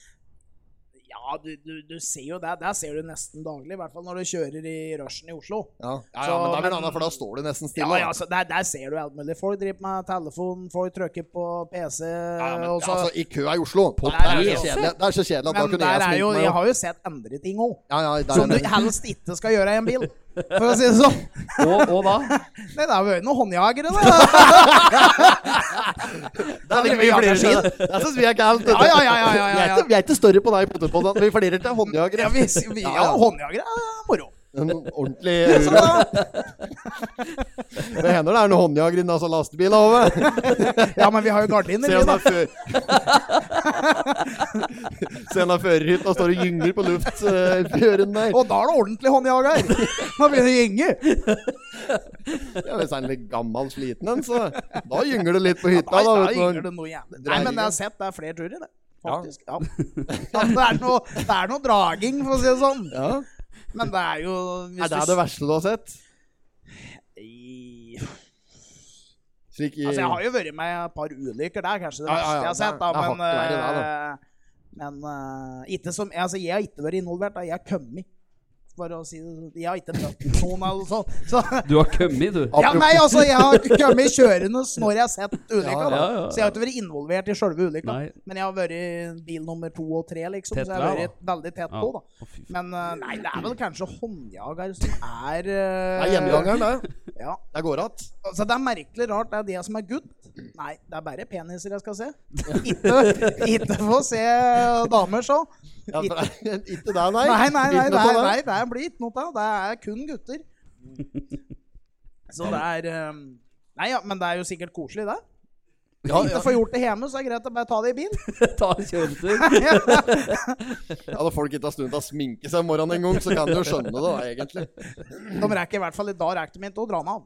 A: Ja, du, du, du ser jo det. Det ser du nesten daglig, i hvert fall når du kjører i rushen i Oslo.
C: Ja, ja, ja
A: Så-
C: men da blir det
A: men-
C: annet, for da står du nesten
A: Ja,
C: stille. da.
A: ja, så der, der ser du alt mulig. Folk driver med telefon, folk trykker på PC.
C: Ja, men,
A: og så,
C: altså, I kø i Oslo på
A: Nei,
C: Det er
A: altså.
C: så kjedelig, det er så kjedelig at da
A: men der
C: kunne jeg
A: er jo,
C: sminke meg.
A: jeg
C: og-
A: har jo sett andre ting òg,
C: Ja, ja, der
A: som
C: er
A: du
C: det.
A: helst ikke skal gjøre i en bil. For å si det sånn.
B: Og, og da?
A: Nei, det har vært noen håndjagere, da.
C: Der ligger vi og flirer til det. Det syns vi er kaldt.
A: Ja, ja, ja, ja, ja, ja.
C: Vi, er ikke- vi er ikke større på deg i potetpodden at vi flirer til håndjagere.
A: Ja, vi, vi, ja, håndjagere er moro.
C: En ordentlig uro. Det hender det er noen håndjagere inne, altså lastebiler over.
A: Ja, men liksom- vi har jo gardiner,
C: Se
A: vi,
C: han
A: da.
C: er før. Se han er førerhytta og står og gynger på luftfjøren der.
A: Og da er det ordentlig håndjager. Nå begynner det å gynge.
C: Ja, hvis han er litt gammel sliten en, så da gynger det litt på hytta.
A: Nei,
C: da,
A: da
C: vet du.
A: gynger det noe jævlig. Nei, men jeg har sett det er flere turer, det. Faktisk. Ja. Ja, det, er noe, det er noe draging, for å si det sånn.
C: Ja.
A: Men det er jo hvis
C: Er det
A: du-
C: det verste du har sett?
A: I-
C: Slik i...
A: Altså, jeg har jo vært med i et par ulykker. Det er kanskje det
C: Ja, ja, ja,
A: verste jeg har sett. Da,
C: det er- det er
A: men
C: hakket verre
A: eh, men eh, ikke som, altså, jeg har ikke vært involvert. Da. Jeg har kommet. For å si det sånn. Jeg har ikke møtt noen eller sånn. Så,
B: Du har kommet, du.
A: ja, nei, altså, jeg har kommet kjørende når jeg har sett ulykka.
C: Ja,
A: da.
B: ja, ja, ja.
A: Så jeg har ikke vært involvert i sjølve ulykka.
B: Nei.
A: Men jeg har vært bil nummer to og tre, liksom.
B: Tett
A: så jeg har
B: der,
A: vært veldig tett
B: Ja.
A: på, da.
B: Å, fy faen.
A: Men eh, nei, det er vel kanskje håndjager som er
C: Det
A: uh,
C: er gjengangeren, det.
A: Ja.
C: Det går att.
A: Altså, det er merkelig rart. Det er det som er gutt. Nei, det er bare peniser jeg skal se. Ikke, ikke få se damer, så.
C: Ja, for
A: Ikke,
C: det er- Ikke deg, nei.
A: nei, nei, nei,
C: Ikke
A: det
C: noe
A: er,
C: av
A: nei,
C: det.
A: det er blitt noe av. Det er kun gutter. Så det er ehm, Nei ja, men det er jo sikkert koselig, det.
C: Ja,
A: Ikke
C: ja.
A: få gjort det hjemme, så er det greit å bare ta det i bil.
B: Ta en kjøretur.
C: ja, når folk ikke har stund til å sminke seg om morgenen en gang, så kan du jo skjønne det, da, egentlig.
A: De rekker i hvert fall Da rekker de ikke å dra den av.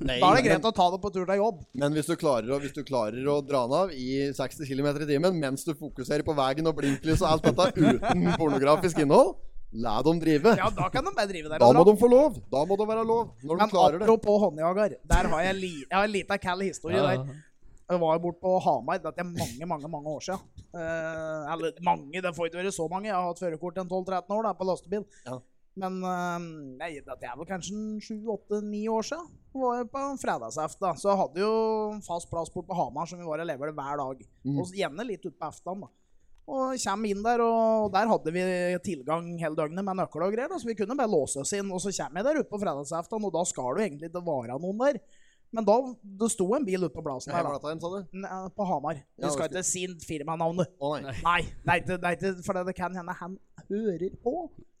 C: Nei,
A: Da er det greit å ta det på tur til jobb.
C: Men hvis du klarer å, hvis du klarer å dra den av i 60 km i timen mens du fokuserer på veien og blinklys og alt dette uten pornografisk innhold, la dem drive.
A: Ja, da kan de bare drive der.
C: Da
A: og dra.
C: må de få lov. Da må det være lov. Når de
A: Men
C: klarer det.
A: apropos håndjager, der har jeg, li jeg har en liten kall historie
B: Ja, ja.
A: der. Jeg var jo bort på Hamar, dette er mange, mange mange år siden. Eh, eller mange, det får ikke være så mange. Jeg har hatt førerkort en 12-13 år da, på lastebil.
C: Ja.
A: Men eh, nei, dette er vel kanskje 7-8-9 år siden. Det var jo på en fredagsaften. da. Så jeg hadde jo en fast plass bort på Hamar som vi var og leverte hver dag.
C: Mm.
A: Og gjerne litt utpå aftenen. da. Og kommer inn der, og der hadde vi tilgang hele døgnet med nøkler og greier. Da, så vi kunne bare låse oss inn. Og så kommer jeg der ute på fredagsaften, og da skal du egentlig ikke være noen der. Men da det sto en bil ute på plassen
C: Nei,
A: der,
C: hva
A: da.
C: er dette igjen, sa du?
A: N- eh, På Hamar. Vi
C: Ja,
A: skal
C: det
A: ikke si firmanavnet.
C: Å nei.
A: Nei, det er ikke- det er ikke- for det kan hende han hører på.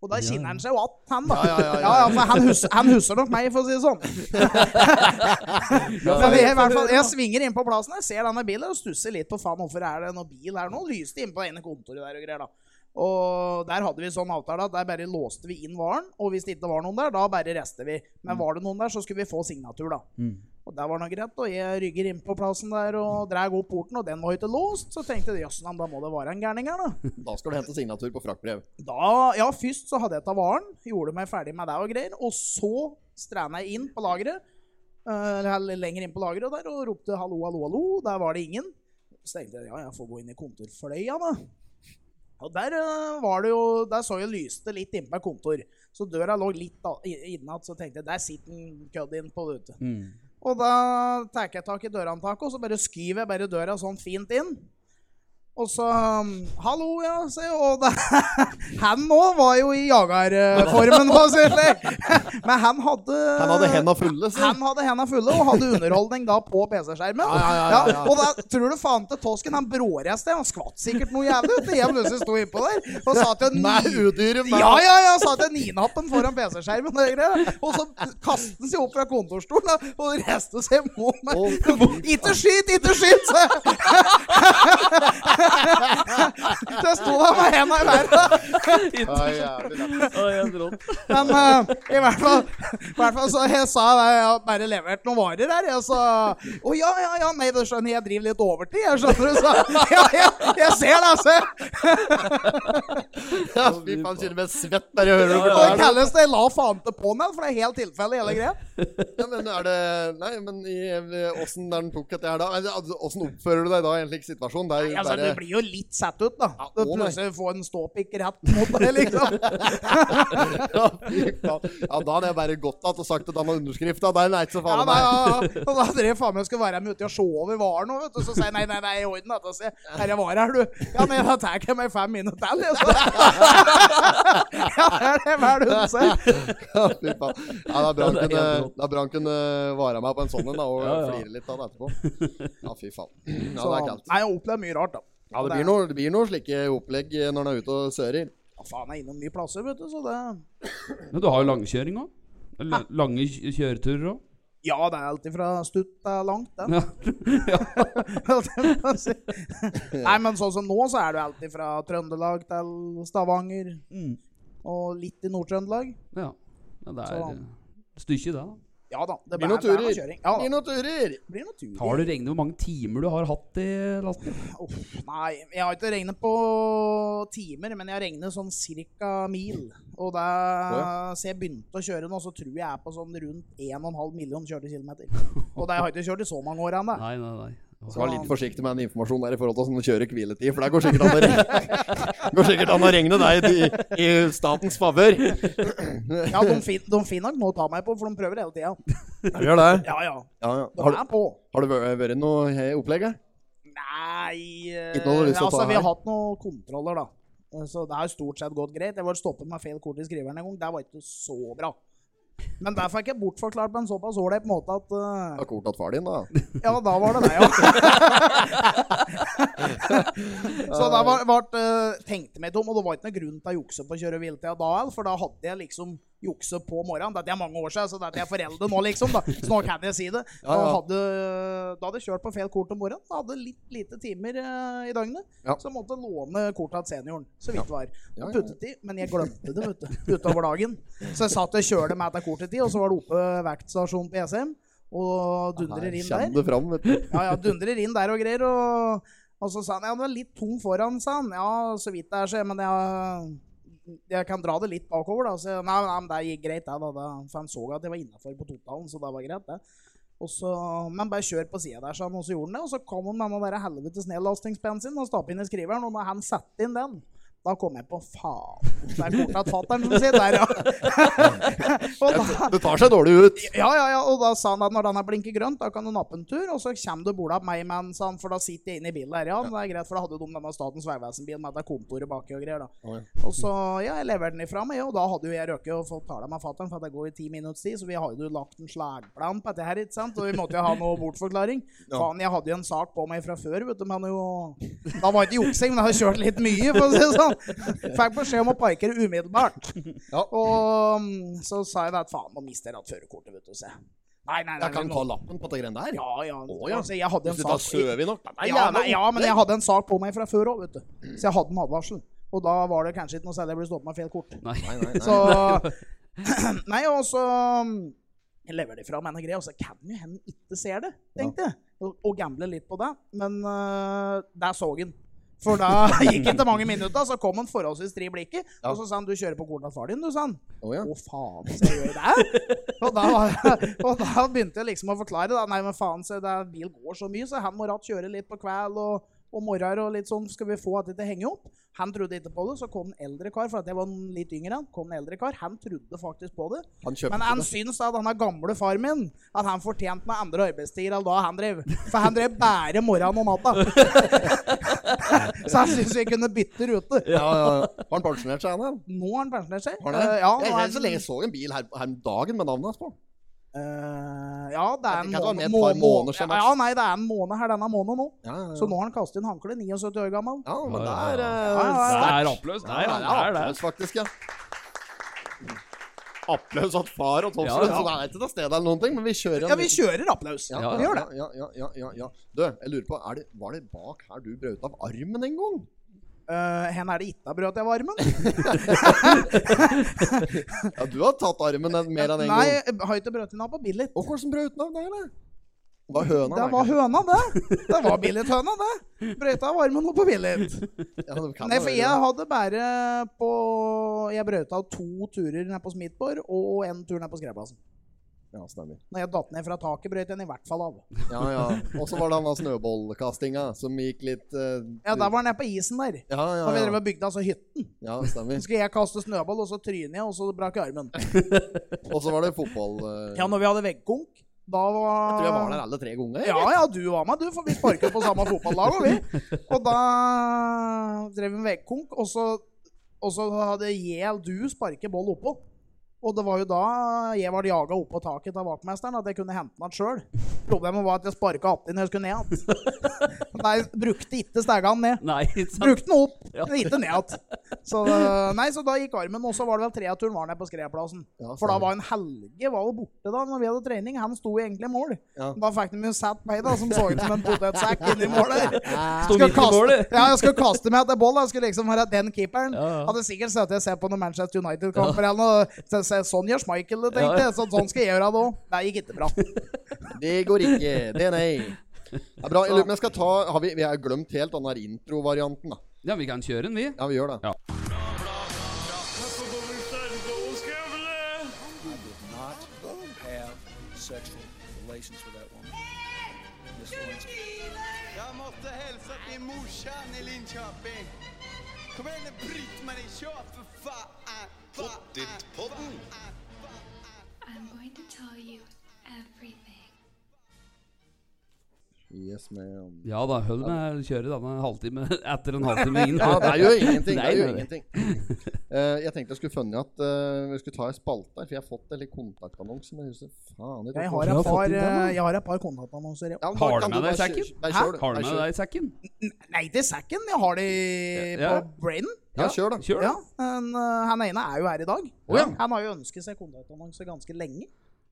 A: Og da
B: Ja.
A: kjenner han seg jo att, han da.
C: Ja, ja, ja, ja.
A: for han, husker, han husker nok meg, for å si det sånn. Men jeg, i hvert fall, jeg svinger inn på plassen, jeg ser denne bilen og stusser litt på faen, hvorfor er det noen bil her nå? Lyste inn på ene kontoret der og greier, da. Og der hadde vi sånn avtale at der bare låste vi inn varen, og hvis det ikke var noen der, da bare rester vi.
C: Mm.
A: Men var det noen der, så skulle vi få signatur, da.
B: Mm.
A: Og der var det noe greit, og jeg rygger inn på plassen der og drar opp porten, og den var jo ikke låst, så tenkte jeg jøss, da må det være en gærning her, da.
C: Da skal du hente signatur på fraktbrev.
A: Da, ja, først så hadde jeg tatt varen, gjorde meg ferdig med det og greier, og så stranda jeg inn på lageret, eh, eller lenger inn på lageret der, og ropte hallo, hallo, hallo, der var det ingen. Så tenkte jeg, ja, jeg får gå inn i kontorfløya da. Og der eh, var det jo, der så jeg lyste litt inne på et kontor, så døra lå litt da- i- innad, så tenkte jeg, der sitter en kødd inn på ute.
B: Mm.
A: Og da tar jeg tak i dørhåndtaket, og så bare skyver jeg bare døra sånn fint inn. Og så um, Hallo, ja, sier jeg. Og da, han nå var jo i jagerformen, for å si det slik. Men han hadde
C: Han hadde henda fulle, så.
A: Eh, Han hadde henda fulle og hadde underholdning da på PC-skjermen.
C: Ja, ja, ja, ja, ja.
A: og da tror du faen til tosken, han bråreiste. Han skvatt sikkert noe jævlig ut. Jeg plutselig sto innpå der og sa til
C: Nei,
A: en
C: udyret.
A: ja, ja, ja, sa til ninappen foran PC-skjermen. og greier. Og så kastet han seg opp fra kontorstolen da, og reiste seg mot meg.
C: Å, fy
A: Ikke skyt, ikke skyt! sa jeg. Så jeg sto der med hendene i været.
C: Ja, jævlig lett.
B: Å, jeg er rått.
A: Men eh, i hvert fall I hvert fall så jeg sa det, jeg har bare levert noen varer her. Jeg sa å ja, ja, ja, nei, du skjønner, jeg driver litt overtid, jeg skjønner du, sa ja, ja, jeg ser det, altså.
C: Ja, fy faen, kjenner meg svett bare jeg hører
B: Ja,
C: hvor
A: Og
C: det
A: det
C: er.
A: kalles det la faen til på'n, for det er helt tilfelle, hele greia.
C: Ja, men er det Nei, men i åssen den tok dette her da? Altså, Åssen oppfører du deg da i en slik situasjon? Det er
A: Nei,
C: jo
A: altså,
C: bare
A: Du blir jo litt satt ut, da.
C: Ja,
A: Du
C: å, nei.
A: plutselig får en ståpikk rett mot deg, liksom.
C: ja, fy faen. ja, da hadde jeg bare gått att og sagt at han har underskrift. Da. Det er nei, så
A: Ja,
C: faen
A: nei,
C: meg.
A: ja, ja. Og da drev jeg faen meg og skulle være med ute og se over varen òg, vet du. Så sier jeg nei, nei, nei, i orden. Da sier jeg her jeg var her, du. Ja, nei, da tar jeg meg fem minutter til, jeg, så. Ja, det er det vel hun sier.
C: Ja, fy faen. Ja, det er bra
B: Ja,
C: han
B: det er
C: kunne,
B: helt rått.
C: det er bra han kunne vare meg på en sånn en da, og
B: Ja, ja.
C: flire litt av det etterpå. Ja, fy faen. Ja,
A: Så,
C: det er kaldt.
A: Nei, jeg opplevde mye rart, da.
C: Ja, det blir noe, det blir noe slike opplegg eh, når han er ute og sører.
A: Ja, faen, jeg er innom mye plasser, vet du, så det
B: Men du har jo langkjøring òg. Lange kj- kjøreturer òg.
A: Ja, det er alltid fra stutt til langt, det.
B: Ja.
A: Alt jeg må si. Nei, men sånn som nå, så er det jo alltid fra Trøndelag til Stavanger.
B: Mm.
A: Og litt i Nord-Trøndelag.
B: ja. ja. Det er
A: Så-
B: eh, stykket, det. da.
A: Ja da. Det
C: Blir noen
A: det
C: turer.
A: noe kjøring. Ja,
C: Blir
A: da.
C: noen turer.
A: Det blir noen turer.
B: Har du regnet hvor mange timer du har hatt i lasten?
A: Uff, nei, jeg har ikke regnet på timer, men jeg har regnet sånn cirka mil. Og da så jeg begynte å kjøre nå, så tror jeg jeg er på sånn rundt 1,5 million kjørte kilometer. Og det har jeg ikke kjørt i så mange år ennå.
B: Nei, nei, nei.
C: Så vær litt forsiktig med den informasjonen der i forhold til sånn kjøre hviletid, for det går sikkert an å regne, går sikkert an å regne deg i, i statens favør.
A: Ja, de, fin, de finner nok noe å ta meg på, for de prøver hele tida.
C: Gjør det.
A: Ja, ja.
C: Ja, ja.
A: De
C: Har, du-
A: er på.
C: har det vært vært noe he- opplegg eh? her?
A: Nei eh,
C: Ikke noe du har lyst til å
A: Altså,
C: ta
A: vi
C: her?
A: har hatt noen kontroller, da. Eh, Så det har stort sett gått greit. Jeg var stoppet med feil kort i skriveren en gang. Det var ikke så bra. Men der fikk jeg bortforklart på en såpass ålreit måte at eh,
C: Har kortet hatt far din, da?
A: Ja, da var det det, ja. så da var, vart, eh, tenkte jeg meg tom, og det var ikke noe grunn til å jukse på kjøre hviletida da heller, for da hadde jeg liksom jukse på morgenen. Dette er mange år siden, så dette er foreldre nå, liksom. Da. Så nå kan jeg si det. Da
C: Ja, ja.
A: hadde, da hadde jeg kjørt på feil kort om morgenen. Da hadde jeg litt lite timer eh, i døgnet.
C: Ja.
A: Så jeg måtte låne kortet til senioren, så vidt var.
C: Ja, ja, ja.
A: Puttet i, men jeg glemte det vet du, utover dagen. Så jeg satt og kjørte meg til kortet i, og så var det oppe verkstasjonen på ESM. Og dundrer inn der.
C: Kjenn det fram, vet du.
A: Ja, ja, dundrer inn der og greier. Og, og så sa han ja, det var litt tung foran, sa han. Ja, så vidt det er, så jeg, men jeg, jeg kan dra det litt bakover, da. Så jeg, nei, nei, men det gikk greit, det. da, da. For han så at jeg var innafor på totalen, så det var greit, det. Og så, men bare kjør på sida der, sa han, og så gjorde han det. Og så kom han med den der helvetes nedlastingspennen sin og stappet inn i skriveren, og når han satte inn den da kom jeg på faen. Det er fortsatt fatter'n som sitter der, ja. og da,
C: Det tar seg dårlig ut.
A: ja, ja, ja, og da sa han at når den er blinket grønt, da kan du nappe en tur, og så kommer du bordet opp meg, men, sa han, for da sitter jeg inne i bilen der, ja, men det er greit, for da hadde jo de denne Statens Vegvesen-bilen med det kontoret baki og greier, da.
C: Å, ja.
A: Og så, ja, jeg leverte den ifra meg, og da hadde jo jeg røket og fått tale med fatteren, for at det går i ti minutters tid, så vi har jo lagt en slagplan på dette her, ikke sant, og vi måtte jo ha noe bortforklaring.
C: Ja.
A: Faen, jeg hadde jo en sak på meg fra før, vet du, men jo, da var ikke juksing, men jeg hadde kjørt litt mye, for å si det sånn. Fikk beskjed om å parkere umiddelbart.
C: Ja.
A: Og mm, så sa jeg da at faen, nå mister jeg alt førerkortet, vet du. Se. Nei, nei, nei.
C: Jeg kan
A: vi
C: ta
A: må-
C: lappen på det greiene der.
A: Ja, ja.
C: Å, ja.
A: Altså, jeg hadde en
C: Hvis du tar
A: sak
C: søv i nok. Nei,
A: ja, nei, ja, men jeg hadde en sak på meg fra før òg, vet du. Så jeg hadde en advarsel. Og da var det kanskje ikke noe særlig jeg ble stoppet med feil kort.
B: Nei.
C: Nei, nei, nei.
A: Så Nei, og så mm, jeg lever de fra meg noe greier, og så kan jo hende ikke ser det, tenkte jeg. Og, og gamble litt på det. Men øh, der så han. For da gikk det ikke mange minutter, så kom han forholdsvis tre blikket,
C: Ja.
A: og så sa han 'du kjører på kornet til far din', du, sa han.
C: Å, ja.
A: Å, faen, så jeg gjør det? Og da, var, og da begynte jeg liksom å forklare. Da. Nei, men faen, så det, er- bil går så mye, så han må ratt kjøre litt på kveld og, og morgener og litt sånn. Skal vi få dette til å henge opp? Han trodde ikke på det. Så kom en eldre kar, for at jeg var en litt yngre. Han kom en eldre kar, han trodde faktisk på det.
C: Han kjøpte
A: Men han
C: det.
A: syns at han er gamle far min, at han fortjente med andre arbeidstider enn da han drev. For han drev bare morgenen og natta. Så han syns vi kunne bytte rute.
C: Ja, ja. ja. Har han pensjonert seg, han? da?
A: Nå har han pensjonert seg.
C: Har han det?
A: Eh, ja,
C: jeg,
A: nå er
C: jeg, så
A: han-
C: lenge jeg så en bil her, her om dagen med navnet hans på.
A: Eh, ja, det er
C: Jeg
A: en
C: tenker at det var med
A: måned,
C: et
A: må,
C: par
A: må,
C: måneder siden,
A: ja,
C: maks.
A: ja, nei, det er en måned her denne måneden nå.
C: Ja, ja, ja.
A: Så nå har han kastet inn håndkle, 79 år gammel.
C: ja, men det
B: Ja, ja,
C: er
B: ja.
C: eh,
A: Ja, ja, ja.
B: Det
C: sterkt.
B: er applaus. Det er, det er, det er.
C: applaus, faktisk, ja. Applaus at far og Tofsrud.
B: Ja, ja.
C: Så det er ikke til stede eller noen ting, men vi kjører en
A: Ja, vi
C: liten-
A: kjører applaus.
C: Ja,
A: vi gjør det.
C: Ja, ja, ja, ja, ja. Du, jeg lurer på, er det, var det bak her du brøt av armen en gang?
A: eh, hen er det ikke brød til varmen?
C: Ja, du har tatt armen en- mer enn én en
A: Nei,
C: gang.
A: jeg har ikke brød til den på Billit.
C: Og hvordan brød utenom det, eller? Sånn Det var høna.
A: Det
C: nei,
A: var
C: kanskje.
A: høna, det. Det var Billit-høna, det. Brøyta varmen opp på Billit.
C: Ja, det kan
A: Nei,
C: det
A: for
C: være.
A: jeg hadde bare på Jeg brøyta to turer ned på Smithborg og en tur ned på Skreplassen.
C: Ja, stemmer.
A: Når jeg datt ned fra taket, brøyt jeg den i hvert fall av.
C: Ja, ja. Og så var det han av snøballkastinga som gikk litt eh,
A: Ja, der var den nede på isen der.
C: ja,
A: Da vi
C: ja,
A: drev
C: ja.
A: og bygde altså hytten,
C: ja, stemmer.
A: så skulle jeg kaste snøball, og så tryner jeg, og så brakk jeg armen.
C: Og så var det fotball. eh,
A: Ja, når vi hadde veggkonk, da var
C: Jeg tror jeg var der alle tre ganger.
A: Ja, ja, du var med, du, for vi sparket på samme fotballag, og vi. Og da drev vi med veggkonk, og så, og så hadde Jel du sparket boll oppå. Og det var jo da jeg var jaga opp på taket av vaktmesteren, at jeg kunne hente den sjøl. Problemet var at jeg sparka att når jeg skulle ned igjen. Nei, brukte ikke stegene ned.
B: Nei, ikke sant?
A: Brukte den opp,
B: Ja.
A: men ikke ned igjen. Så, det- nei, så da gikk armen, og så var det vel treaturen var nede på skredplassen.
C: Ja,
A: For da
C: stemmer.
A: var en Helge var jo borte da når vi hadde trening. Han sto egentlig i mål.
C: Ja.
A: Da fikk de jo satt meg, da, som så ut som en potetsekk inni målet.
B: Sto
A: Skal
B: midt i målet.
A: ja, jeg skulle kaste meg etter boll. Jeg skulle liksom være den keeperen.
B: Ja, ja.
A: Hadde sikkert sett at jeg ser på noen Manchester United-kamper eller noe. Se, se, sånn gjør Schmeichel det,
B: Ja,
A: tenkte
B: ja.
A: jeg. Så, sånn skal jeg gjøre det òg. Det gikk ikke bra.
C: Det går ikke. Det er nei. Det er bra. Jeg lurer på om jeg skal ta har Vi, vi har glemt helt den her introvarianten, da.
B: Ja, vi kan kjøre den, vi.
C: Ja, vi gjør det.
B: Ja.
D: not have sexual relations with that woman. Miss Lewinsky.
E: Jeg måtte hilse til morsan i Linköping. Kom igjen, Britt-Marie, kjør for faen! Pottitpodden!
F: I'm going to tell you everything.
C: Yes, ma'am.
B: Ja da, hold med å kjøre denne halvtime etter en halvtime inn.
C: Ja, det er jo ingenting. Det
B: Nei,
C: er jo
B: nei, nei.
C: ingenting. Eh, jeg tenkte jeg skulle funnet at eh, vi skulle ta en spalte her, for jeg har fått en litt kontaktannonse. Men jeg husker, faen,
A: Jeg
C: tok-
A: har et par, eh, jeg har et par kontaktannonser. ja.
C: Ja, men da
B: Har du
C: kan
B: med deg
C: bare
B: sekken?
C: kjøre- Nei,
A: Hæ?
C: kjør du.
B: Har du
C: Nei,
B: med
C: kjør.
B: deg sekken?
A: Nei, til sekken. Jeg har de
B: Ja.
A: på brainen.
C: Ja, kjør, da.
B: Kjør, da.
A: Ja, men, eh, han ene er jo her i dag.
B: Å ja.
A: Han har jo ønsket seg kontaktannonse ganske lenge.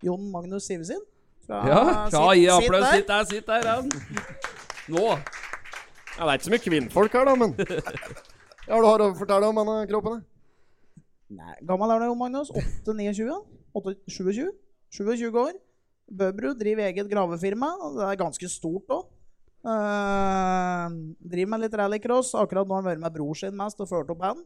A: Jon Magnus Sivesin. Fra-
B: Ja, ja,
A: sitt-
B: gi
A: sitt
B: applaus.
A: der.
B: Sitt der, sitt der. han. Nå.
C: Ja, det er ikke så mye kvinnfolk her, da, men Ja, du har å fortelle om denne kroppen? da?
A: Nei, gammel er du, Jon Magnus? 8-29? 27? 27 år. Bøbru driver eget gravefirma. og Det er ganske stort òg. driver med litt rallycross. Akkurat nå har han vært med bror sin mest og ført opp han.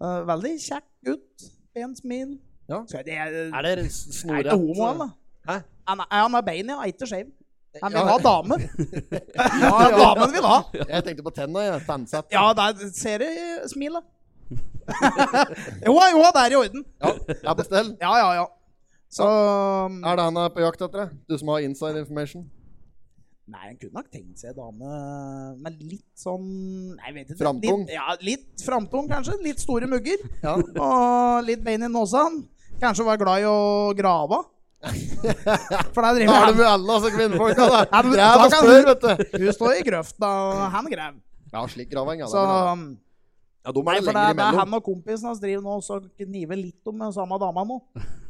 A: Eh, veldig kjekk gutt. Pent smil.
C: Ja.
A: Skal jeg, jeg,
C: Er det
A: er
C: snorrett?
A: ikke homo, han, da.
C: Hæ?
A: Han er, han er bein, ja. Er Ikke skeiv. Han vil
C: Ja.
A: ha damer.
C: Ja,
A: Damen vil ha.
C: Jeg tenkte på tenna, jeg. Tannsett.
A: Ja, der ser du smilet. jo, jo, det er i orden.
C: Ja, jeg er på stell.
A: Ja, ja, ja. Så mm,
C: Er det han er på jakt etter? da? Du som har inside information?
A: Nei, han kunne nok tenkt seg ei dame med litt sånn Nei, jeg vet ikke.
C: Framtung?
A: Litt, ja, litt framtung, kanskje. Litt store mugger.
C: Ja.
A: Og litt bein i nåsan. Kanskje var glad i å grave. For der
C: Da
A: driver
C: er det
A: han.
C: med alle, altså, kvinnfolka, da.
A: Ja, men
C: Det er
A: da
C: det
A: kan-
C: spør, vet du.
A: Hun står i grøfta, og han graver.
C: Ja, slik graving, ja. det
A: Så
C: er bra.
A: um,
C: Ja, de
A: Nei,
C: er det
A: for det,
C: lenger
A: er- det er
C: imellom.
A: han og kompisen hans driver nå og kniver litt om den samme dama nå.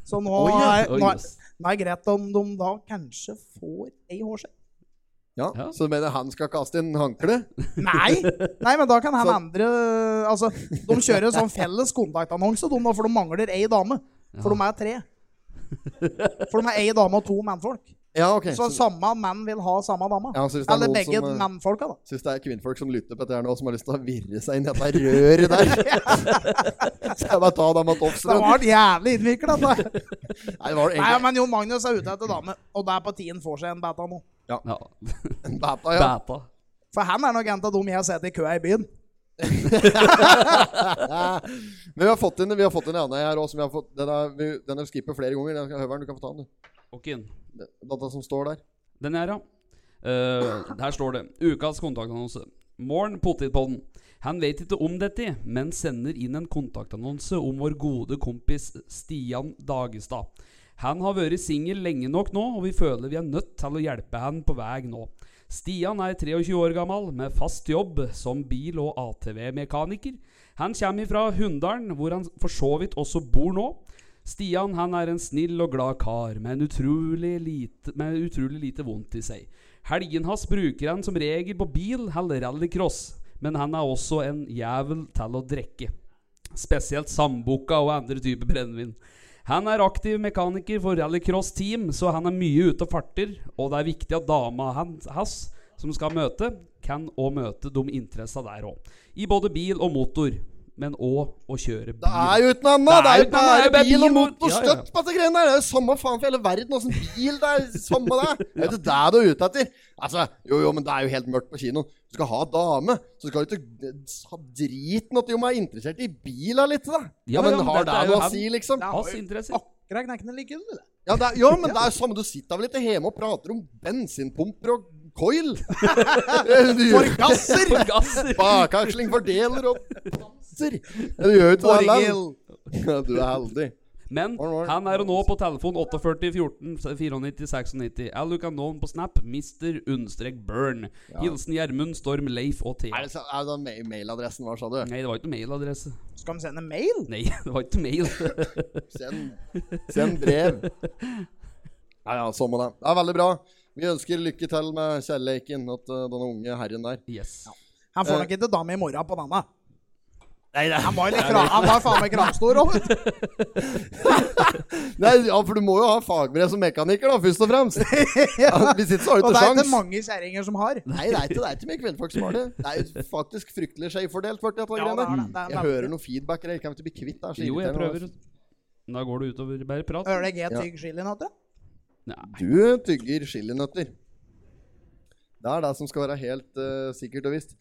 A: Så nå
C: Oi, ja.
A: er,
B: Oi,
A: nå, er,
B: yes.
A: nå er det greit om de da kanskje får ei hårsekk.
C: Ja,
B: Ja.
C: Så du mener han skal kaste inn håndkle?
A: Nei! Nei, men da kan han
C: Så-
A: andre Altså, de kjører en sånn felles kontaktannonse, de, da, for de mangler ei dame. For de er tre. For de er ei dame og to mannfolk.
C: Ja, ok.
A: Så samme mann vil ha samme dame.
C: Ja, så hvis det er
A: Eller
C: noen
A: begge
C: som, eh,
A: mannfolka, da.
C: Syns det er kvinnfolk som lytter på dette her nå, som har lyst til å virre seg inn i dette røret der. Så jeg bare ta dem av
A: Det
C: Tofsrud.
A: var jævlig innvikla. Nei,
C: Nei, var det egentlig
A: men Jon Magnus er ute etter dame, og det er på tiden får seg en beta nå.
B: Ja.
C: en beta, ja.
B: Bæta.
A: For han er nok en av dem jeg har sett i kø i byen.
C: Men vi har fått inn, vi har fått inn en annen her også, som vi har fått- Den er- vi- den har vi skippet flere ganger. Den skal- Høveren, du kan få ta den, du.
B: Ok, inn.
C: Data som står der.
B: Den er, ja. Eh, der står det Ukas kontaktannonse. Morn, potetpodden. Han vet ikke om dette, men sender inn en kontaktannonse om vår gode kompis Stian Dagestad. Han har vært singel lenge nok nå, og vi føler vi er nødt til å hjelpe han på vei nå. Stian er 23 år gammel, med fast jobb som bil- og ATV-mekaniker. Han kommer fra Hunndalen, hvor han for så vidt også bor nå. Stian han er en snill og glad kar, med, en utrolig lite, med utrolig lite vondt i seg. Helgen hans bruker han som regel på bil eller rallycross. men han er også en jævel til å drikke. Spesielt sambukka og andre typer brennevin. Han er aktiv mekaniker for rallycross-team, så han er mye ute og farter. Og det er viktig at dama han- hans, som skal møte, kan òg møte de interessene der òg. I både bil og motor, men òg å kjøre bil.
C: Det er jo uten annet! Det er jo bare bil og motor
B: Ja, ja.
C: støtt på dette greiene der! Det er jo samme faen for hele verden åssen bil det er. Samme det. Det er jo det du er ute etter. Altså, jo, jo, men det er jo helt mørkt på kinoen. Du skal ha dame, så skal du ikke eh, ha driten at de er interessert i bila litt, da.
B: Ja,
C: Ja, men
B: ja, men
C: har
B: dette
C: det
B: er jo
C: noe
B: han-
C: å si, liksom?
A: Ja.
B: Hans interesser.
A: Akkurat knekkende like kul, eller?
C: Ja, det er, jo, men det er jo samme. Du sitter vel ikke hjemme og prater om bensinpumper og coil? Forgasser!
B: Forgasser.
C: Bakaksling, fordeler og danser. Du gjør jo ikke det, Allan.
A: Borghild.
C: Ja, Du er heldig.
B: Men
C: Alright.
B: han er nå på telefon 48 14 94 96. Eller du kan nå han på Snap Mr. Understrek Burn. Hilsen Gjermund, Storm, Leif og Thea.
C: Er det, så- er det ma- mailadressen vår, sa du?
B: Nei, det var ikke noe mailadresse.
A: Skal de sende mail?
B: Nei, det var ikke mail.
C: Send, send brev. Ja, ja, sånn må det. Det er veldig bra. Vi ønsker lykke til med kjærleiken at eh, denne unge herren der.
B: Yes.
A: Han får
C: Eh.
A: nok ikke dame i morgen på denne. Han var, litt kra han var faen meg kramstor òg, vet du.
C: Nei, ja, for du må jo ha fagbrev som mekaniker, da, først og fremst. Ja, Hvis ikke, så har
A: Og
C: du
A: det er
C: ikke
A: ikke
C: sjans.
A: mange kjerringer som har.
C: Nei, det er ikke, det er ikke mye kvinnfolk som har det. Det er jo faktisk fryktelig skjevfordelt.
A: Ja,
C: Ja,
A: det er det. Det er
C: jeg
A: veldig.
C: hører noe feedback her. Jeg kan ikke bli kvitt det. er så
B: Jo, jeg
C: irriterende, altså.
B: prøver. Da går det utover bare prat.
A: Hører du ikke jeg tygg chili nå, tror jeg?
B: Nei.
C: Du tygger chilinøtter. Det er det som skal være helt eh, sikkert og visst.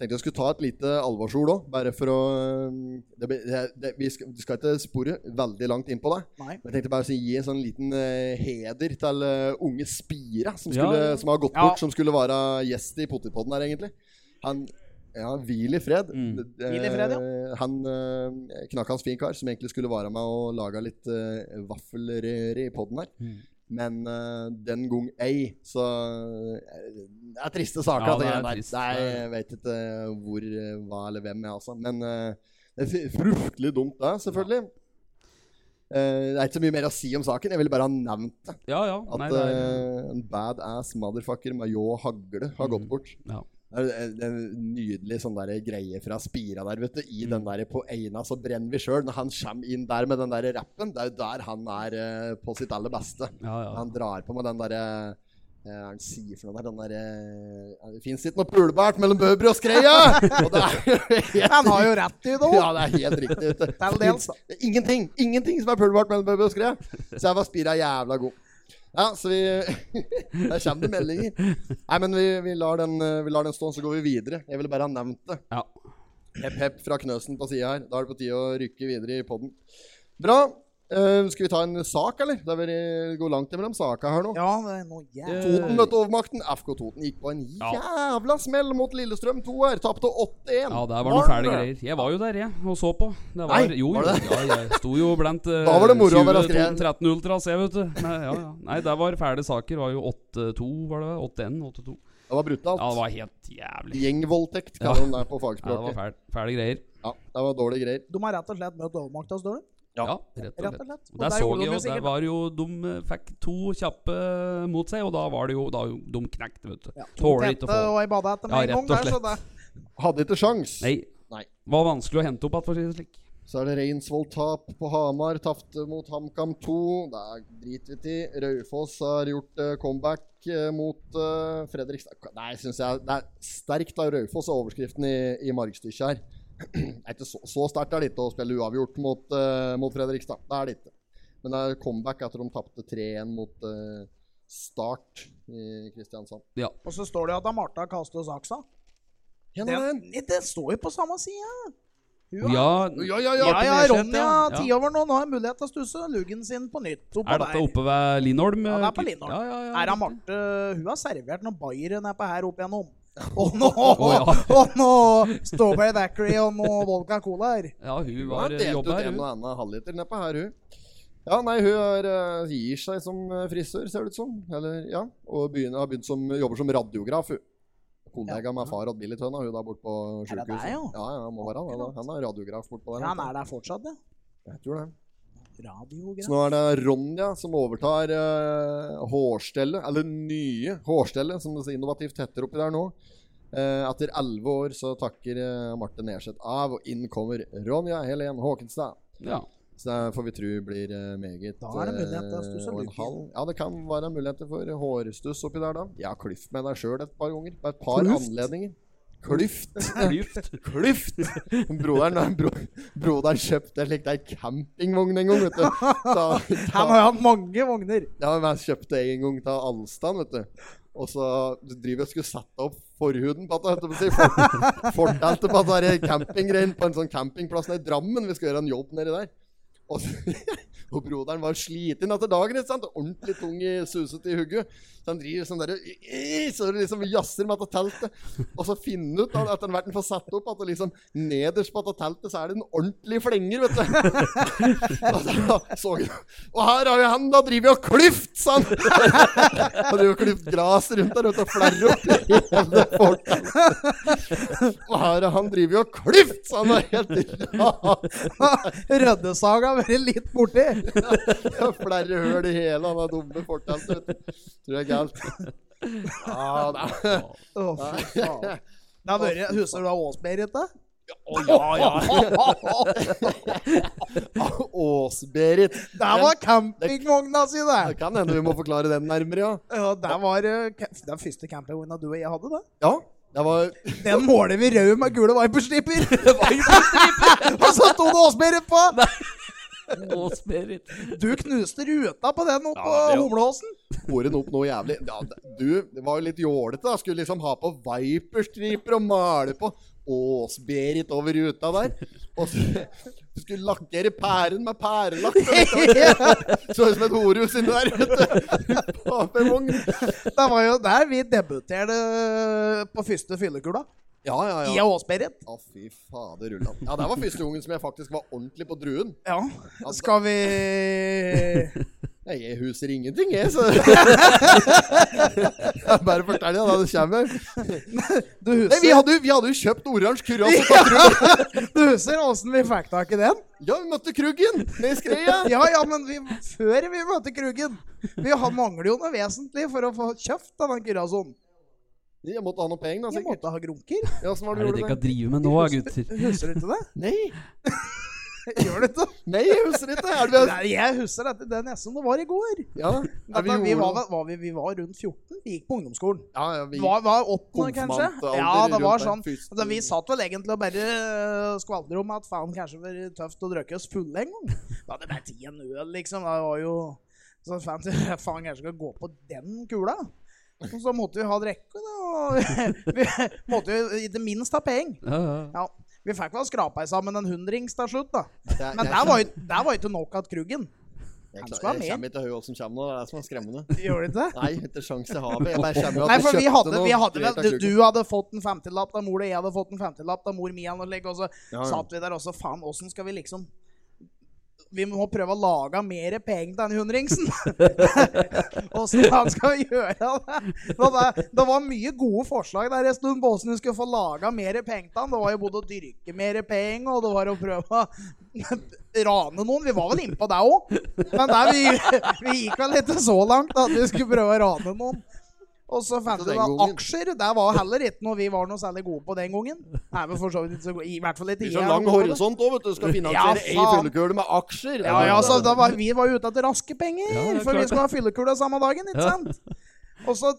C: Tenkte jeg skulle ta et lite alvorsord òg, bare for å eh, det, blir- det, det, Vi skal, vi skal ikke spore veldig langt inn på det.
A: Nei.
C: Men jeg tenkte bare å si, gi en sånn liten eh, heder til eh, unge Spira, som,
B: Ja,
C: skulle,
B: ja.
C: som har gått
A: Ja.
C: bort, som skulle være gjest i Potipodden her, egentlig. Han ja, hvil i fred.
B: Mm.
C: Eh,
A: Hvil i fred,
C: Han eh, knakk hans fin kar, som egentlig skulle være med og lage litt eh, vaffelrøre i podden her. Men eh, den gang ei, så eh, Det er triste saker.
B: Ja,
C: at
B: det
C: det
B: er
C: er der.
B: trist.
C: Det er, jeg vet ikke hvor, eh, hva eller hvem jeg er, altså. Men eh, det er fruktelig dumt, det, selvfølgelig. Eh, det er ikke så mye mer å si om saken. Jeg ville bare ha nevnt det.
B: Ja, ja.
C: At
B: Nei, det er,
C: eh, en badass motherfucker med ljå og hagle har gått bort.
B: Mm, ja.
C: Det er eh, det er en nydelig sånn der greie fra Spira der, vet du. I den
B: Mm.
C: der på Eina så brenner vi sjøl. Når han kommer inn der med den der rappen, det er jo der han er eh, på sitt aller beste.
B: Ja, ja.
C: Han drar på med den derre hva er det han sier for noe der? Den derre ja, Det fins ikke noe pulebært mellom Bøbry og Skreia! Og det er jo helt
A: Han har jo rett i det òg.
C: ja, det er helt riktig. Vet du.
A: Til dels, da.
C: Det er Ingenting ingenting som er pulbart mellom Bøbe og Skreia. Så jeg var spira jævla god. Ja, så vi Der kommer det meldinger. Nei, men vi, vi, lar den, eh, vi lar den stå, så går vi videre. Jeg ville bare ha nevnt det.
B: ja.
C: Hepp, hepp fra Knøsen på sida her. Da er det på tide å rykke videre i poden. Bra. Eh, skal vi ta en sak, eller? Det har vært- går langt imellom saka her nå.
A: Ja, det er noe jævlig.
C: Toten møtte overmakten. FK Toten gikk på en
B: Ja.
C: jævla smell mot Lillestrøm 2 her. Tapte 8-1.
B: Ja, der var noen fæle greier. Jeg var jo der, jeg, og så på. Det var,
C: Nei,
B: jo,
C: var
B: jo,
C: det?
B: ja, jeg sto jo blant uh,
C: Da var det moro å være skrevet.
B: 13 Ultras, jeg, vet du. Nei, ja, ja. Nei, der var fæle saker. Var jo 8-2, var det? 8-1, 8-2.
C: Det var brutalt.
B: Ja, det var helt jævlig.
C: Gjengvoldtekt,
B: Ja.
C: kaller de det på
B: Ja, det var
C: fagspråket.
B: fæle, fæle greier.
C: Ja, det var dårlige greier.
A: De har rett og slett møtt overmakta oss dårlig.
B: Ja, rett og
A: Rett
B: slett.
A: og slett.
B: Og
A: Og
B: der
A: der
B: så
A: gjorde de
B: jeg
A: jo
B: jo, der
A: sikkert-
B: var jo De eh, fikk to kjappe mot seg, og da var det jo Da jo de knekt, vet du. Tåler ikke å
A: Tette
B: få
A: og ei badehette med
B: Ja,
A: en gang
B: rett og
A: der, så det
C: Hadde ikke sjans.
B: Nei.
C: Nei.
B: Var vanskelig å hente opp igjen, for å si det slik.
C: Så er det Reinsvoll-tap på Hamar. Tapte mot HamKam 2. Det er driter vi i. Raufoss har gjort eh, comeback eh, mot eh, Fredrikstad. Nei, synes jeg det er sterkt av Raufoss, er overskriften i, i margstykket her. Det er ikke så, så sterkt er det ikke å spille uavgjort mot, eh, mot Fredrikstad. Det er det ikke. Men det er comeback etter de tapte 3-1 mot eh, Start i Kristiansand.
A: Og så står det jo at da Martha kaster saksa.
C: Hen
A: Det,
C: er den?
A: Nei, det står jo på samme sida.
B: Ja,
C: Ja, ja, ja.
A: Ja, ja,
B: Martin Nesjet,
A: Ronja,
B: ja.
A: ti over nå. Nå har jeg mulighet til å stusse luggen sin på nytt. Oppå
B: Er dette
A: der.
B: oppe ved Linholm?
A: Ja, det er på
B: eh,
A: Linholm.
B: Ja, ja, ja,
A: Her er
B: riktig.
A: Marte Hun har servert noen bayere nedpå her opp igjennom. Og nå,
B: ja.
A: og nå Strawberry Dackery og noe Volca Cola her.
B: Ja, hun
A: eh,
C: Hun har
B: var
C: delt
B: jobba
C: ut
B: her.
C: en
B: hun.
C: og annen halvliter nedpå her, hun. Ja, nei, hun er, eh, gir seg som eh, frisør, ser det ut som. Eller, ja. Og begynner, har begynt som, jobber som radiograf, hun. Kollega med far og Billy Tønna, hun der borte på
A: Er det
C: sjukehuset.
A: deg, ja?
C: ja, ja, må være han. da. Han er radiograf bortpå der.
A: Ja, han er der fortsatt, ja.
C: Jeg tror det. Så
A: Radiograf.
C: nå er det Ronja som overtar eh, hårstellet, eller nye hårstellet, som det så innovativt heter oppi der nå. Eh, etter elleve år så takker eh, Marte Neseth av, og inn kommer Ronja Helen Håkenstad.
B: Ja.
C: Så det får vi tro blir eh, meget
A: Da er det mulighet til å
C: eh,
A: stusse
C: og en
A: luken.
C: halv. Ja, det kan være muligheter for hårstuss oppi der, da. Jeg har klyft med deg sjøl et par ganger. På et par
A: Klyft?
C: anledninger. Klyft!
B: Klyft.
C: Klyft! Broderen, bro, broderen kjøpte en slik der campingvogn en gang, vet du. Ta, ta,
A: Han har jo hatt mange vogner.
C: ja, men jeg kjøpte en gang til Alstan, vet du. Og så driver jeg og skulle sette opp forhuden på at jeg si, fortalte på at det er campinggreien på en sånn campingplass nede i Drammen. Vi skal gjøre en jobb nedi der. Og, så, og broderen var sliten etter dagen. ikke sant? Ordentlig tung i suset i hugget. Så han driver sånn der, i- i- så det liksom jazzer med dette teltet. Og så finner ut da, etter hvert han får satt opp, at det liksom nederst på dette teltet så er det en ordentlig flenger, vet du. Og da så jeg, og her har jo han da driver jo og klyft, sa han. Han driver og klyft gras rundt der ute og flerrer opp i hele forteltet. Og her har han driver jo og klyft, sa han. Og helt ras.
A: Røddesaga har vært litt borti.
C: Og Flere høl i hele han har dumme forteltet, vet du. Tror jeg er galt. Ja, nei.
A: Å, fy faen. Det har vært, Husker du da Ås-Berit? da?
C: Ås-Berit.
A: Der var campingvogna si,
C: Det
A: det!
C: kan hende vi må forklare den nærmere, ja.
A: Ja, der var eh, ca- den første campingvogna du og jeg hadde, da.
C: Ja, det var
A: Den måler vi rød med gule viperstriper! og så sto det Ås-Berit på!
B: Ås-Berit.
A: Du knuste ruta på den oppå
B: Ja, det gjorde-
A: Humleåsen.
C: Horen opp noe jævlig. Ja, d- du det var jo litt jålete. da. Skulle liksom ha på viperstriper og male på Ås-Berit over ruta der. Og så du skulle lakkere pæren med pærelakk. Så ut som et horehus inni der ute. Papevogn.
A: Det var jo der vi debuterte på første fyllekula.
C: Ja, ja,
A: I
C: ja.
A: Ås-Berit.
C: Å, fy fader, Ulland. Ja, det var første gangen som jeg faktisk var ordentlig på druen.
A: Ja. Skal vi
C: Nei, Jeg huser ingenting, jeg, så jeg Bare fortell deg da det kommer.
A: Du
C: Nei, vi
A: husker,
C: hadde, jo- vi hadde jo kjøpt oransje kurv på druen.
A: du husker åssen vi fikk tak i den?
C: Ja, vi møtte Kruggen ned i skreia.
A: Ja, ja, men vi, før vi møter Krugen Vi har- mangler jo noe vesentlig for å få kjøpt denne kurasonen.
C: Jeg måtte ha noe penger, da,
A: Jeg
C: sikkert.
A: måtte ha grunker.
C: Ja, Åssen var det du
B: Hva er det dere
C: gjorde
B: kan
C: det?
B: drive med nå, gutter?
A: Husker du ikke det?
C: Nei,
A: Gjør du ikke det?
C: nei, jeg husker ikke. Er det vi
A: Nei, Jeg husker dette. Det er nesten det var i går.
C: Ja,
A: At da
C: er
A: vi,
C: vi
A: var,
C: gjorde det?
A: vel- var vi, vi var rundt 14. Vi gikk på ungdomsskolen.
C: Ja, ja, vi
A: Det var, var åttende, kanskje?
C: Konfirmantalder
A: Ja, det var
C: rundt
A: sånn.
C: der, første-
A: Altså, vi satt vel egentlig og bare øh, skvaldret om at faen, kanskje det var tøft å drikke oss fulle en gang. Da hadde det vært i en øl, liksom. Det var jo Så fant vi faen, kanskje vi skal gå på den kula. Og så måtte vi ha drikke, da. Og vi, vi måtte jo ikke minst ha penger.
B: Ja, ja.
A: Ja. Vi fikk vel skrapa sammen en hundrings til slutt, da.
C: Jeg-
A: Men
C: jeg-
A: der var jo der var jo ikke nok at Kruggen.
C: Jeg,
A: han
C: jeg,
A: skulle ha
C: sånn- jeg
A: mer.
C: kommer ikke til å høre hva som kommer nå. Det er det som er skremmende.
A: Gjorde det ikke det?
C: Nei, ikke sjans i havet. Jeg bare kommer jo at
A: Nei, for vi
C: kjøpte
A: hadde,
C: noe
A: vi hadde
C: greit av
A: vel, du,
C: Kruggen.
A: du hadde fått en 50-lapp av mor, og jeg hadde fått en 50-lapp av mor mi, og, slik, og så
C: Ja, ja.
A: satt vi der også. Faen, åssen skal vi liksom Vi må prøve å lage mer penger til den hundringsen! Åssen faen skal vi gjøre det? Og det? Det var mye gode forslag der en stund på åssen vi skulle få laga mer penger til han. Det var jo både å dyrke mer penger, og det var å prøve å rane noen. Vi var vel innpå det òg, men der vi, vi gikk vel ikke så langt at vi skulle prøve å rane noen. Og så fant
C: Så
A: vi
C: den
A: da
C: gangen-
A: aksjer. Der var heller ikke noe vi var noe særlig gode på den gangen. Nei, men for så vidt ikke så gode. I hvert fall
C: Det
A: ikke
C: blir så
A: jeg
C: lang
A: er god på det.
C: horisont òg, vet du. Skal
A: Ja,
C: finansiere ei
A: faen.
C: fyllekule med aksjer.
A: Ja, ja, så da var, vi var jo ute etter raske penger,
B: Ja, det er
A: for vi
B: klart
A: skulle ha fyllekula samme dagen, ikke
B: Ja.
A: sant? Og så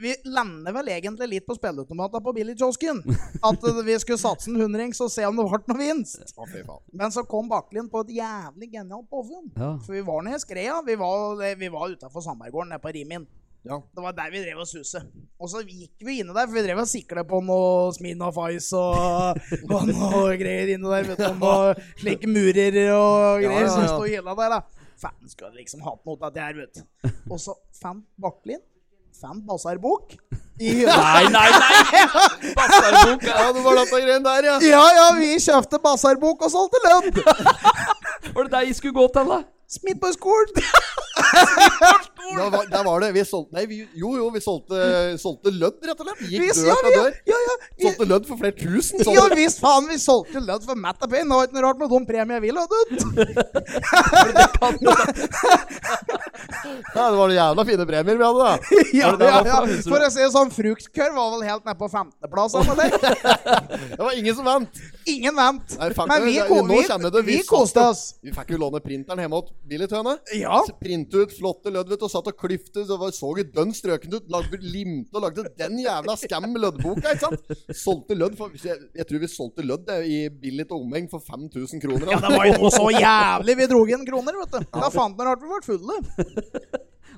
A: vi lander vel egentlig litt på spilleautomatene på billigkiosken. At eh, vi skulle satse en hundrings og se om det ble noe vinst.
C: Å, fy faen.
A: Men så kom Bakklin på et jævlig genialt påfunn.
B: Ja.
A: For vi var nede i skreia. Vi var, eh, vi var utafor Sandberggården, nede på Rimin.
C: Ja.
A: Det var der vi drev og suse. Og så gikk vi inne der, for vi drev og sikla på noe Smirnoff Ice og, og noe greier inne der. Vet du, og noe slike murer og
C: Ja,
A: greier
C: ja,
A: som
C: ja.
A: sto i hylla der, da. Faen skulle liksom hatt noe av det her, vet du. Og så fant Bakklin fant Basarbok i hylla.
B: Nei, nei, nei! Bastardbok!
C: ja, det var dette greien der, ja.
A: Ja, ja, vi kjøpte Basarbok og solgte lønn!
B: Var det deg jeg skulle gå til, da?
A: Smidt på skolen! Liverpool!
C: Da var, der var det. Vi solgte Nei, vi, jo, jo, vi solgte, solgte lødd, rett og slett.
A: Vi-
C: Gikk
A: ja,
C: dør til
A: ja,
C: dør.
A: ja, ja, vi-
C: Solgte lødd for flere tusen.
A: Jo
C: Solgte.
A: visst faen, vi solgte lønn for Matt og Payne. Det var ikke noe rart med de premiene vi lodde ut.
C: Ja, det var noen jævla fine premier vi hadde, da.
A: ja,
B: det det
A: ja,
B: var
A: ja.
B: for noe, husker du?
A: For å si det sånn, fruktkurv var vel helt nede på 15.-plass. eller?
C: Det var ingen som vant.
A: Ingen vant.
C: Nei, fuck
A: Men
C: det.
A: vi,
C: Ja,
A: ko
C: nå
A: vi,
C: kjenner du,
A: vi
C: vi satt
A: koste
C: opp.
A: oss.
C: Vi fikk jo låne printeren hjemme hos Billy Tøne.
A: Ja.
C: Printe ut flotte lødd, vet du, og satt og klifte. Så var- så jo dønn strøkent ut. Lagde, limte og lagde den jævla skam løddboka, ikke sant? Solgte lødd for Jeg, jeg tror vi solgte lødd jeg, i Billy til omheng for 5000 kroner. da.
A: Ja, det var jo noe så jævlig vi dro inn kroner, vet du. Da fant dere at vi ble fulle.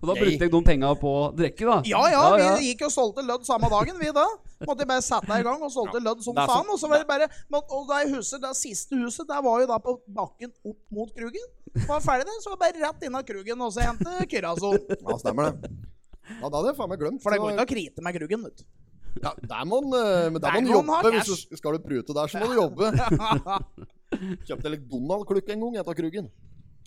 B: Og da brukte jeg de penga på å drikke, da.
A: Ja, ja, vi gikk og solgte lødd samme dagen, vi da. Måtte jeg bare sette i gang og solgte lødd som
B: det er så-
A: faen. Og så var det bare men- Og da jeg husker, det siste huset, der var jo da på bakken opp mot Krugen. Var ferdig der, så var det bare rett innom Krugen og så hente Kyrazo.
C: Ja, stemmer det. Ja, da hadde jeg faen meg glemt.
A: For det går
C: Så-
A: ikke å krite med Krugen, vet du.
C: ja, der må en, eh, men der må
A: Der
C: en
A: må en ha
C: jobbe. Hvis
A: cash.
C: du skal du prute der, så må du jobbe. Kjøpte en Donald-klukk en gang etter Krugen.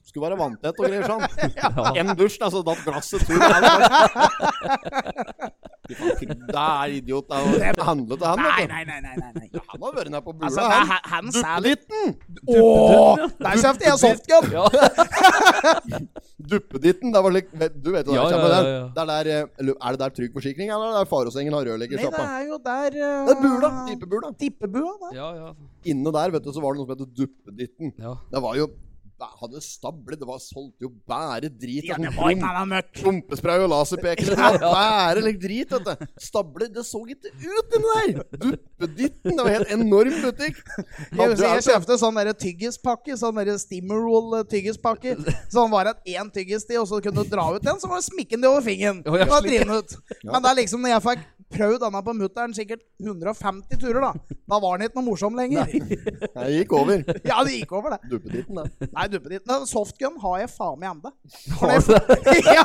C: Skulle være vanntett og greier sånn. En dusj, da, så datt glasset tur. Fy faen, Krugen, Det er idiot. Det er å handle til han,
A: Nei,
C: vet du.
A: nei, nei. nei, nei, nei.
C: Han har vært nede på bula,
A: Altså, det er
C: han.
A: he- han særlig
C: Duppeditten!
A: Ååå! Der kjøpte jeg softgun!
C: Duppeditten, det var slik Du vet jo det,
B: Ja,
C: kjenner
B: ja,
C: den.
B: ja, ja.
C: Det er, der, eh, eller er det der Trygg Forsikring, eller er det der Faråsengen har
A: Nei, det
C: rørleggersjappa?
A: er jo der eh,
C: Det er bula. Typebula.
A: Tippebua, da.
B: Ja, ja.
C: Inne der vet du, så var det noe som het Duppeditten.
B: ja.
C: Det var jo bæ- Hadde stabler, det var solgt jo bare drit.
A: Ja,
C: og
A: det
C: sånn
A: var
C: rom-
A: ikke noe møkk.
C: Rumpespray og laserpekere. Det var bare litt drit, vet du. Stabler, det så ikke ut inni der! Duppeditten, det var helt enorm butikk.
A: Jeg, husker, jeg
C: alt-
A: kjøpte sånn derre tyggispakke, sånn derre Stimmerol-tyggispakke. Sånn var det én tyggis til, og så kunne du dra ut den, så var det smikkende over fingeren.
B: Å, ja,
A: Det var
B: slik.
A: trinnet ut. Men det er liksom, når jeg fikk prøvd denne på mutter'n sikkert 150 turer, da, da var den ikke noe morsom lenger.
C: Nei, det gikk over.
A: Ja, det gikk over, det.
C: Duppeditten, det.
A: Nei, duppe ditt. Men Softgun har jeg faen meg ennå.
B: Har du det?
A: Ja.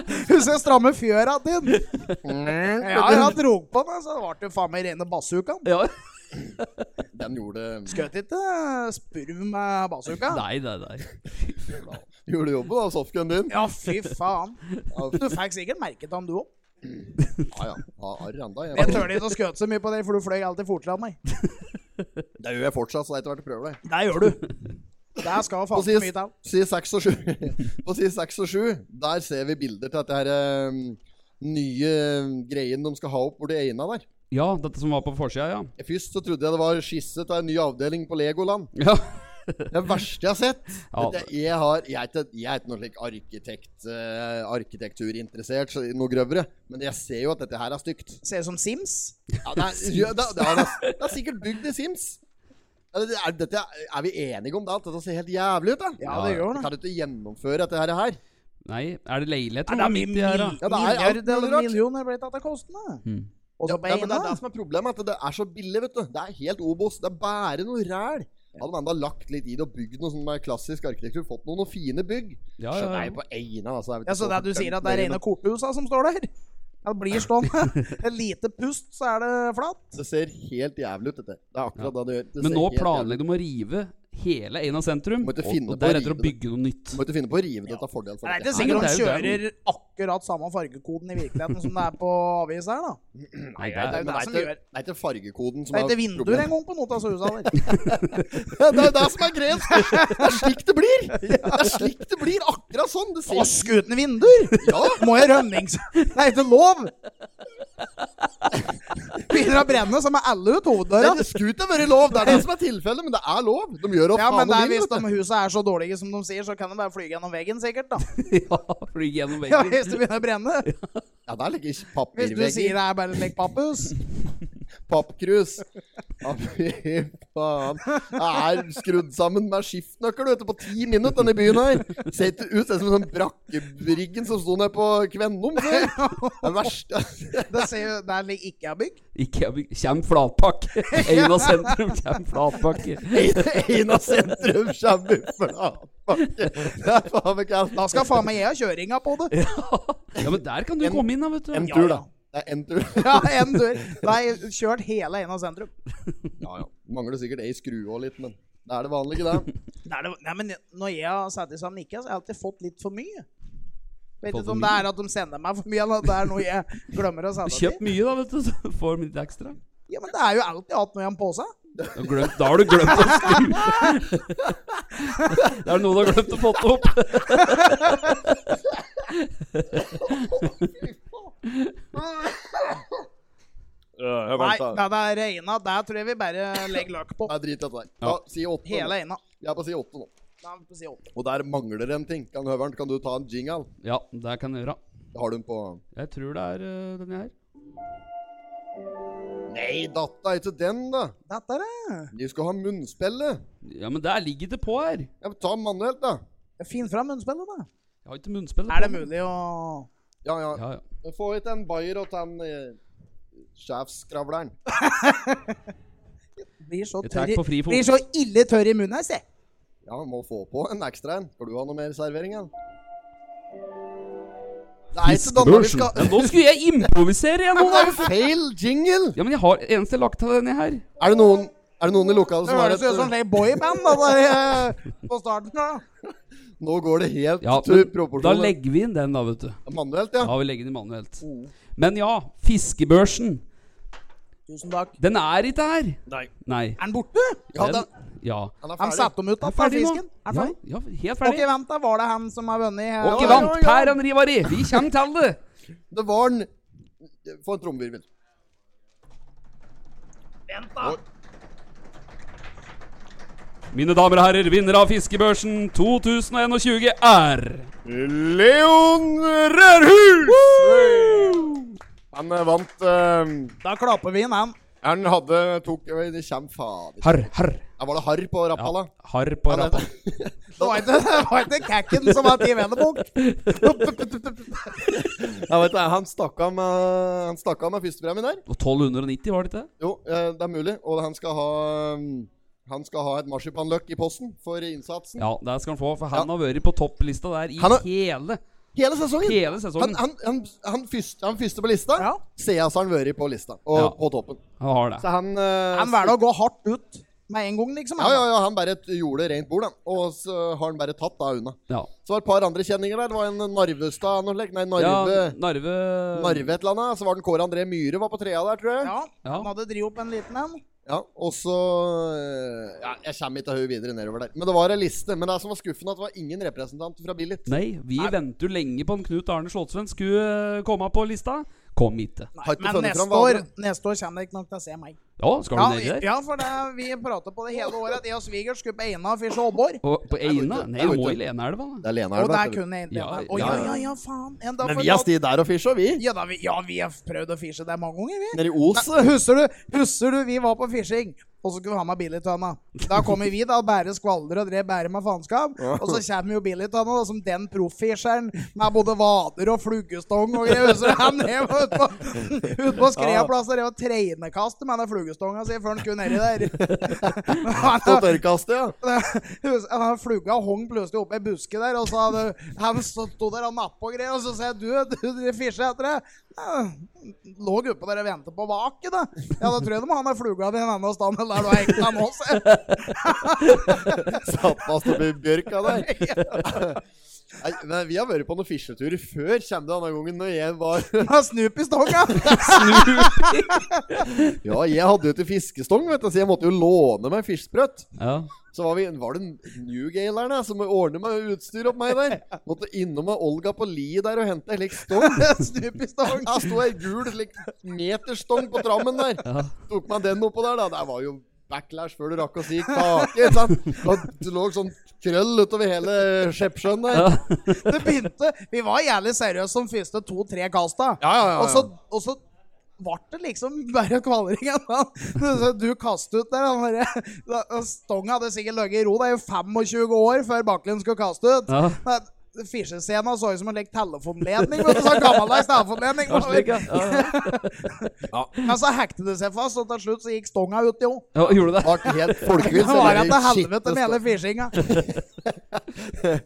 A: Husker jeg stramme fjøra din. Ja, jeg dro på den, så det ble jo faen meg rene basukaen.
B: Ja.
C: Den gjorde,
A: Skjøt ikke spurv med basuka.
B: Nei, nei, nei.
C: gjorde jobben, da, softgun din.
A: Ja, fy faen. Du fikk sikkert merket han, du òg.
C: Ja, ja. Har arr enda.
A: Jeg
C: Jeg,
A: tør ikke å skjøte så mye på deg, for du fløy alltid fortere enn meg.
C: det gjør jeg fortsatt, så det er etter hvert jeg prøver det.
A: Det gjør du. Der skal
C: På
A: faen
C: side,
A: ikke mye til.
C: side 6 og 7 På side 6 og 7 Der ser vi bilder til dette her eh, nye eh, greien de skal ha opp borti øynene der.
B: Ja, dette som var på forsida, ja.
C: Først så trodde jeg det var skisse til en ny avdeling på Legoland.
B: ja.
C: Det verste jeg har sett.
B: Ja.
C: Det, jeg, har, jeg, er ikke, jeg er ikke noe slik arkitekt, eh, arkitekturinteressert, så noe grøvere. Men jeg ser jo at dette her er stygt.
A: Ser ut som Sims.
C: Ja, det, er, ja, det, det, er, det er sikkert bygd i Sims. Er, det- er, dette, er vi enige om det? At dette ser helt jævlig ut? Da?
A: Ja, det gjør det.
C: Kan du ikke gjennomføre dette her? her?
B: Nei, er det leilighet?
A: Ja, det er mye
B: midt i her, da?
A: mil-
C: Ja, det er alt
A: milliard
C: mulig
A: eller
C: rart.
A: millioner blitt etter kostene. Og så på
C: Ja, men det
A: ene.
C: er det som er problemet, at det er så billig, vet du. Det er helt Obos. Det er bare noe ræl. Hadde man da lagt litt i det og bygd noe sånn med klassisk arkitektur, fått noen, noen fine bygg
B: Ja,
C: Skjønner
B: ja,
C: jeg
B: ja.
C: på Eina, altså.
A: Ja,
C: jeg vet ikke
A: så
C: så
A: det du sier at det er
C: fordømt
A: rene
C: med
A: korthusa som står der? Ja, det blir stående. Et lite pust, så er det flatt.
C: Eina. Det ser helt jævlig ut, dette. Det er akkurat det det gjør. Det
B: Men
C: ser
B: nå
C: helt jævlig ut.
B: planlegger de å rive hele Eina sentrum,
C: Må
B: og,
C: ikke finne
B: og
C: på å
B: deretter å
C: rive det.
B: bygge noe nytt.
C: Du må ikke finne på å rive dette av fordel for
A: Det er ikke
C: dette.
B: sikkert
A: sikkert
B: Nei,
A: de
B: men det er
A: kjører akkurat samme fargekoden i virkeligheten som det er på avisa her, da.
B: Nei, det
A: Det er jo det
C: Men
B: er,
C: det er
A: som
C: ikke-
A: gjør
C: Det er ikke fargekoden som
A: Det er ikke vinduer
C: problemet.
A: engang på noen av disse husa der.
C: Det er jo det som er greia! Det er slik det blir! Det er slik det blir, akkurat sånn! Det ser
A: Ask uten vinduer!
C: Ja!
A: Må jeg rømmings... Nei, ikke lov! Begynner å brenne, så må alle ut hoveddøra.
C: Det skulle ikke vært lov! Det er det som er tilfellet, men det er lov! De gjør hva
A: Ja, men
C: faen
A: det
C: de
A: er
C: vil.
A: hvis
C: vet du.
A: de husa er så dårlige som de sier, så kan de bare flyge gjennom veggen, sikkert, da.
B: ja, fly gjennom
A: Ja,
B: veggen.
A: hvis det begynner å brenne.
C: Ja, der ligger ikke
A: Hvis du sier
C: papirvegger.
A: det er bare et lekt papphus.
C: Pappkrus. Ja, fy faen. Det er skrudd sammen med skiftenøkkel vet du, på ti minutter, denne byen her. Ser ikke ut ser ut som en sånn brakkebryggen som sto nede på Kvennum. før. Det er verst.
A: Det ser jo Der ligger ikke jeg bygg.
B: Ikke Kjem flatpakke! Eina sentrum kjem flatpakke.
C: Eina sentrum kommer i flatpakke. Det er faen meg kast.
A: Da skal faen meg jeg ha kjøringa på det.
B: Ja, men der kan du komme inn, da, vet
C: En
B: du.
C: tur, da. Det er en tur.
A: Ja, en dør. Nei, kjørt hele Eina sentrum.
C: Ja, ja. Mangler sikkert ei skrue òg litt, men det er det vanlige, det.
A: Nei, det, nei, men når jeg har satt i sammen Niklas, har jeg alltid fått litt for mye. Vet
B: Får
A: ikke
B: for
A: om det
B: mye.
A: er at de sender meg for mye, eller at det er noe jeg glemmer å sende
B: Kjøpt
A: til.
B: mye, da, vet du, så får de litt ekstra.
A: Ja, men det er jo alltid hatt noe i en pose.
B: Du har glemt, da har du glemt å skru Det er noe du har glemt å få opp.
A: Nei, det er Eina. Der tror jeg vi bare legger løk på.
C: Nei, drit i dette der.
B: Ja.
C: Ja, si åtte.
A: Hele
C: nå.
A: Eina.
C: Jeg er på si åtte nå.
A: Da er vi på side åtte.
C: Og der mangler en ting. Kan Høveren, kan du ta en jingle?
B: Ja, det kan jeg gjøre.
C: Har du den på
B: Jeg tror det er øh, denne her.
C: Nei, datta, ikke den, da.
A: Dette er det.
C: De skal ha munnspillet.
B: Ja, men der ligger det på her.
C: Ja, men ta manuelt, da.
A: Finn fram munnspillet, da.
B: Jeg har ikke munnspill.
A: Er det
B: på.
A: mulig å
C: Ja, ja.
B: Ja, ja.
C: Få hit en bayer og ta en eh, sjefskravleren.
A: Blir så
B: Jeg tar
A: tørr i
B: på frifot.
A: Blir så ille tørr i munnen her, se.
C: Ja, må få på en ekstra en. Skal du ha noe mer servering, da? Nei, ikke denne vi
B: Fiskebørsen. Ja,
C: skal
B: nå skulle jeg improvisere igjen!
C: Men det
B: nå,
C: er jo
B: da.
C: feil jingle!
B: Ja, men jeg har eneste lagt til denne her.
C: Er det noen, er det noen i lokalet
A: Det
C: som har
A: høres
C: et
A: jo ut som
C: eh,
A: et boyband da, der, eh, på starten. da.
C: Nå går det helt
B: Ja,
C: til
B: men da
C: proporsjoner.
B: legger vi inn den, da, vet du.
C: Manuelt, ja.
B: Da vi legger den i manuelt. Men ja, fiskebørsen.
A: Tusen takk.
B: Den er ikke her.
C: Nei.
B: Nei.
A: Er den borte?
C: Ja,
B: Den,
C: den-
B: ja.
C: Han er
A: Han
C: ferdig.
A: satte dem ut da,
B: Er
A: fra
B: ferdig nå.
A: fisken. Er
B: Ja,
A: ferdig.
B: ja, helt
A: Ok,
B: ferdig.
A: vent da, var det han som har vunnet? eh,
B: Ok,
A: oi,
B: vant.
A: oi, oi.
B: Per Andri Vari, vi kommer til det.
C: Det var en Få en trommevirvel.
B: Mine damer og herrer, vinner av Fiskebørsen 2021 er
C: Leon Rørhus! Han eh, vant eh,
A: Da klapper vi inn han.
C: Han hadde tok eh, Det kommer fader
B: Harr, harr.
C: Ja, Var det harr på rappala?
B: Harr på rappa.
A: Det var ikke, det var ikke kakken som var Team Enebukk.
C: Jeg vet ikke, Han stakk av med, han stakk av med førstepremien der.
B: Og 1290, var det ikke? det?
C: Jo, eh, det er mulig. Og han skal ha mm, Han skal ha et marsipanløk i posten for innsatsen.
B: Ja, det skal han få, for han har vært på topplista der i
C: Han har-
B: hele
C: Hele sesongen!
B: Hele sesongen.
C: Han, han, han, han, første, han første på lista.
A: Ja.
C: Siden så har han vært på lista, og
B: Ja.
C: på toppen.
B: Han har det.
C: Så han eh,
A: Han velger å gå hardt ut med en gang, liksom.
C: Ja, ja, ja, han bare gjorde rent bord, han. Og så har han bare tatt da unna.
B: Ja.
C: Så var det et par andre kjenninger der. Det var en Narvestad noe slikt. Nei, Narve.
B: Ja, eh, Narve
C: Narve et eller annet. Så var den Kåre André Myhre var på trea der, tror jeg. Ja.
A: Ja,
B: Ja.
A: Han hadde drivet opp en liten en.
C: Og så eh, ja, Jeg kommer ikke til å høre videre nedover der. Men det var ei liste. Men det som var skuffende, at det var ingen representant fra Billit.
B: Nei, vi venter jo lenge på en Knut Arne Slottsvenn skulle eh, komme på lista. Kom ikke.
C: Har ikke
A: Men
C: funnet
A: neste
C: fram hva
A: år,
C: andre-
A: neste år kommer det ikke nok til å se meg.
B: Ja, skal
A: Ja,
B: du ned der?
A: ja for det, vi prata på det hele året at jeg og svigers skulle på Eina og fishe ålbor.
B: Og på Eina?
C: ute.
B: Nei,
C: Jeg er
B: du må
C: ute.
B: i Leneelva, da.
C: Det er Lena
A: Og
C: Elva,
A: der
C: vet du.
A: kunne jeg inn.
B: Ja,
A: Ja, Å ja,
B: ja,
C: ja.
A: ja, ja, faen. En dag
C: Men
A: får
C: vi har
A: gått-
C: stått der og fisja, vi.
A: ja, da, vi, ja, vi har prøvd å fishe der mange ganger, vi.
C: Nede i Oset.
A: Husker du, husker du vi var på fishing, og så skulle vi ha med Billytønna? Da kommer vi, da, bære skvalder og drev bære med faenskap. Og så kommer jo Billytønna da, som den profffisheren med både vader og fluggestong og greier. Husker du han drev ute på, ut på skreaplass og drev og treinekastet med den fluggestonga si før han skulle nedi
C: På
A: der?
C: tørrkastet, ja.
A: Husker- Han flugga hong plutselig opp i buske der, og så hadde, han stå- sto der og nappa og greier, og så sa jeg, du, du, du fisjer etter det. Ja, Lå oppe der og ventet på vaket, da. Ja, da tror jeg de må ha med fluga di en annen stand enn der du har hengt den nå, se.
C: Satt fast oppi bjørka der. Nei, men vi har vært på noen fisjeturer før, kommer det denne gangen, når jeg var
A: Med snup i stonga.
C: Ja, jeg hadde jo til fiskestong, vet du, så jeg måtte jo låne meg fiskesprøtt.
B: Ja.
C: Så var, vi, var det Newgalerne som ordnet meg utstyr opp meg der. Måtte innom med Olga på li der og hente ei slik stong.
A: snup i stong.
C: Da sto ei gul slik meterstong på trammen der. Tok meg den oppå der, da. Det var jo backlash før du rakk å si kake. ikke sant? Da Det lå sånn krøll utover hele Skjeppsjøen der.
A: Det begynte, vi var jævlig seriøse de første to-tre kasta.
C: Ja, ja, ja, ja.
A: Og så, og så ble det liksom bare kvalring igjen. da. Så Du kastet ut der. Han der da- Stonga hadde sikkert ligget i ro. Det er jo 25 år før Baklund skulle kaste ut.
B: Ja.
A: Men Fisjescena så ut som en lek telefonledning. Vet du, sånn gammeldags telefonledning.
B: Ja, slik, ja. Ja, ja.
A: Men så hekte det seg fast, og til slutt så gikk stonga ut, jo.
B: ja, gjorde det?
C: Ble helt folkevilt.
A: Det var etter helvete med hele fishinga.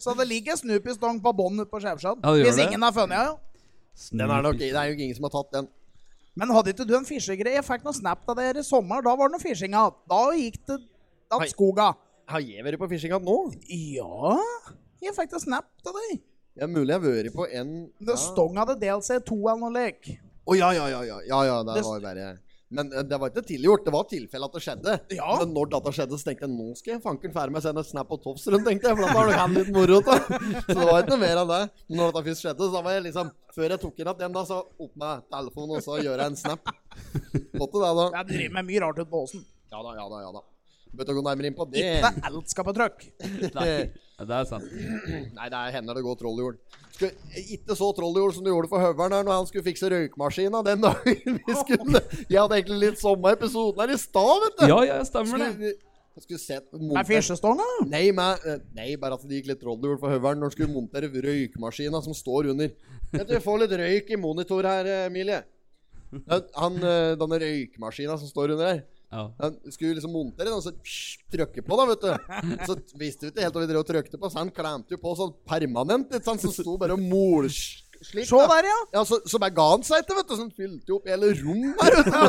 A: Så det ligger Snoopy-stong på bånn ute på Skjevsjøen.
B: Ja, det gjør
A: Hvis
B: det.
A: ingen har funnet den, jo.
C: Den er nok, det er jo ingen som har tatt den.
A: Men hadde ikke du en fisjegreie? Jeg fikk noen snap av dere i sommer. Da var det noe fisjing av. Da gikk det
C: Hei.
A: att skoga.
C: Har jeg vært på fishing igjen nå?
A: Ja, jeg fikk en snap av deg.
C: Det er mulig jeg har vært på en
A: Men det stong hadde delt seg i to eller noe lek.
C: Å ja, ja, ja, ja, ja, ja det,
A: Det-
C: var verre. Men eh, det var ikke tilgjort. Det var tilfelle at det skjedde.
A: Ja.
C: Men når dette skjedde, så tenkte jeg nå skal jeg fanken fære meg sende et snap på Tofsrud, tenkte jeg. For da var det han litt moro da. Så det var ikke noe mer enn det. Men når dette først skjedde, så da var jeg liksom Før jeg tok inn igjen den, da, så opp med telefonen, og så gjør jeg en snap. Måtte det, da.
A: Jeg driver med mye rart ute på åsen.
C: Ja da, ja da, ja da. Bør ikke gå nærmere inn på det.
A: Ikke alt skal på trøkk.
B: Nei, det er sant.
C: Nei, det er hender det går troll i jord. Skulle- eh, Ikke så troll i jord som du gjorde for høveren her når han skulle fikse røykmaskina den dagen vi skulle Jeg hadde egentlig litt samme episoden her i stad, vet du.
B: Ja, ja, stemmer det.
C: Skulle, jeg skulle sett
A: Med fisjestonga?
C: Nei, men, eh, nei, bare at det gikk litt troll i jord for høveren når han skulle montere røykmaskina som står under. Jeg tror vi får litt røyk i monitor her, eh, Emilie. Ja, Han, eh, Denne røykmaskina som står under her.
B: Ja.
C: Han skulle liksom montere den, og så psh, trykke på, da, vet du. Så visste vi ikke helt hva vi drev og trykte på, så han klemte jo på sånn permanent, ikke sant, så sto bare og molslik.
A: Se der, ja.
C: Ja, så, så bare ga han seg ikke, vet du, så han fylte jo opp hele rommet her, vet du.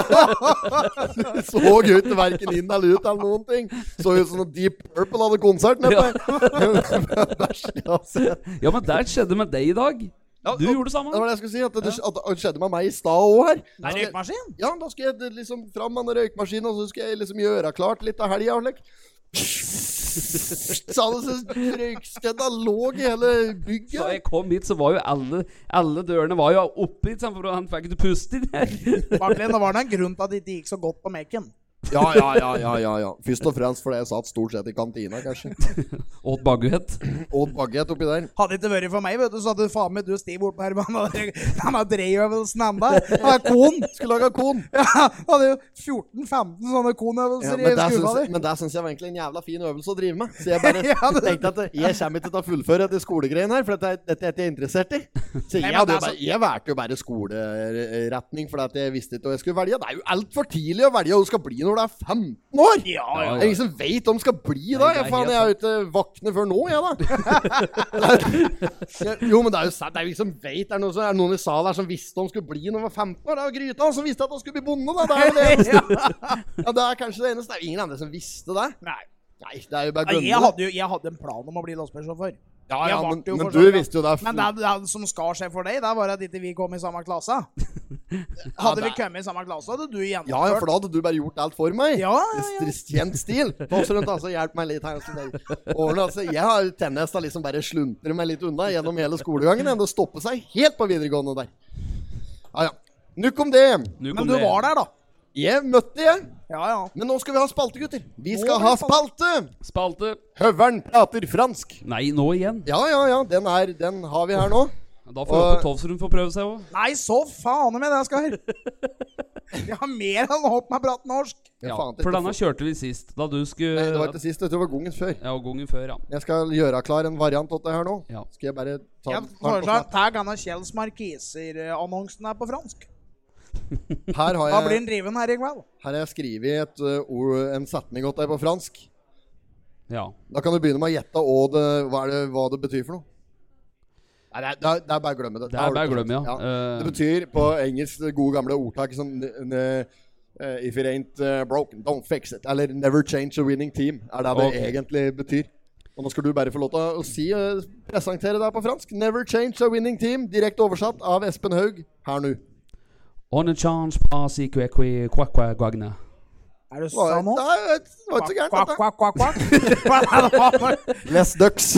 C: Det så jo ikke verken inn eller ut eller noen ting. Så ut som noe Deep Purple hadde konsert nede
B: Ja.
C: der. Verst jeg har sett.
B: ja, men det skjedde med deg i dag.
C: Ja,
B: Du
C: og-
B: gjorde det
C: Det
B: samme.
C: var det jeg skulle si, at det, at det skjedde med meg i stad òg her.
A: Det er røykmaskin.
C: Ja, da skal jeg liksom fram med den røykmaskinen, og så skal jeg liksom gjøre klart litt av helga. Like. Så hadde så røykskjedda lå i hele
B: Da jeg
C: bygget.
B: kom hit, så var jo alle, alle dørene var jo oppe hit, sant, for han fikk ikke puste inn her.
A: Bartlin, det var da en grunn til at det ikke gikk så godt på Mekken.
C: Ja, ja, ja, ja, ja, ja. Først og fremst fordi jeg satt stort sett i kantina, kanskje.
B: Åt baguett.
C: Og bagett oppi der.
A: Hadde det ikke vært for meg, vet du, så hadde faen meg du Stiv bort på Herman. og dere- Han har dreiøvelsen enda. Han har kon.
C: Skulle lage kon.
A: Ja, han hadde jo 14-15 sånne
C: Ja,
A: konøvelser
C: men
A: i
C: det syns
A: skuffa di.
C: jeg- men det syns jeg var egentlig en jævla fin øvelse å drive med. Så jeg bare
A: Ja, det-
C: tenkte at jeg kommer ikke til å fullføre dette skolegreiene her, for dette er dette er ikke jeg er interessert i. Så
A: men altså-
C: jeg, hadde
A: det
C: jo
A: er
C: bare, jeg valgte jo bare skoleretning, for at jeg visste ikke hva jeg skulle velge. Det er jo altfor tidlig å velge hva du skal bli når du er 15 år!
A: Ja,
B: ja.
C: Det er ingen som veit hva du skal bli da.
B: Nei,
C: Jeg,
B: det er
C: faen,
B: helt
C: jeg er jo ikke våkne før nå, jeg, da. jo, men det er jo sant. Det er jo ingen som veit. Det er noen, som, er det noen i salen her som visste hva de skulle bli når de var 15 år. Det er jo Grytan som visste at han skulle bli bonde, da. Det er jo det eneste. Ja, det er kanskje det eneste. Det er jo ingen andre som visste det.
A: Nei.
C: Nei, det er jo bare
A: Nei,
C: gønne.
A: Jeg hadde jo jeg hadde en plan om å bli lastebilsjåfør.
C: ja,
A: jeg
C: ja,
A: vart
C: men,
A: jo
C: men
A: for
C: du
A: så vidt-
C: visste jo det.
A: Men det, det som skar seg for deg, det var at ikke vi kom i samme klasse. Hadde vi
C: det-
A: kommet i samme klasse, hadde du gjennomført.
C: ja, ja, for da hadde du bare gjort alt for meg.
A: Ja, ja, ja.
C: I st- Kjent stil. Pass rundt, altså. Hjelp meg litt her. sånn der. Årene, altså, jeg har jo tendens til å liksom bare sluntre meg litt unna gjennom hele skolegangen. Enn å stoppe seg helt på videregående der. Ja, ja. Nukk om det.
B: Nå kom
A: Men du
B: det.
A: var der, da.
C: Jeg møtte jeg.
A: Ja, ja.
C: Men nå skal vi ha spalte, gutter. Vi
A: Nå
C: skal
A: blir
C: ha
A: det
C: spalte.
B: Spalte.
C: Høveren prater fransk.
B: Nei, nå igjen.
C: Ja, ja, ja. Den, er, den har vi her nå.
B: Da får
C: Og-
B: Oppe Tovsrud få prøve seg òg.
A: Nei, så faen med det, Skar. Jeg har mer enn hopp med bratt norsk.
B: Ja,
C: faen, det er
B: for
C: ikke
B: denne kjørte vi sist, da du skulle
C: Nei, det var ikke sist. Det var gongen før.
B: Ja, og gangen før, ja.
C: Jeg skal gjøre klar en variant av det her nå.
B: Ja.
C: Skal jeg bare ta
A: Jeg
C: den
A: foreslår tag han av Kjells Markiser-annonsen her på fransk.
C: Her har
A: Da blir
C: jeg,
A: han driven her i kveld.
C: her har jeg skrevet et, uh, ord, en setning åt deg på fransk.
B: ja.
C: Da kan du begynne med å gjette hva det, hva, er det, hva det betyr for noe. Nei, det, er, det, er, det er bare å glemme det.
B: Det
C: Da har
B: er
C: du
B: bare å
C: det.
B: glemme, ja. Eh,
C: Det betyr på engelsk det gode gamle ordtaket som n- n- eh, If it ain't eh, broken, don't fix it. Eller never change a winning team. Er det det
B: Ok.
C: egentlig betyr. Og nå skal du bare få lov til å si, eh, presentere deg på fransk. Never change a winning team. Direkte oversatt av Espen Haug her nå.
B: On a chance pass i kwe kwe kwa kwa guagna.
A: Er du
C: Var-
A: sann nå?
C: Nei, det var ikke så gærent,
A: Kvakk,
C: dette.
A: kvakk, kvakk, kvakk.
C: Les ducks.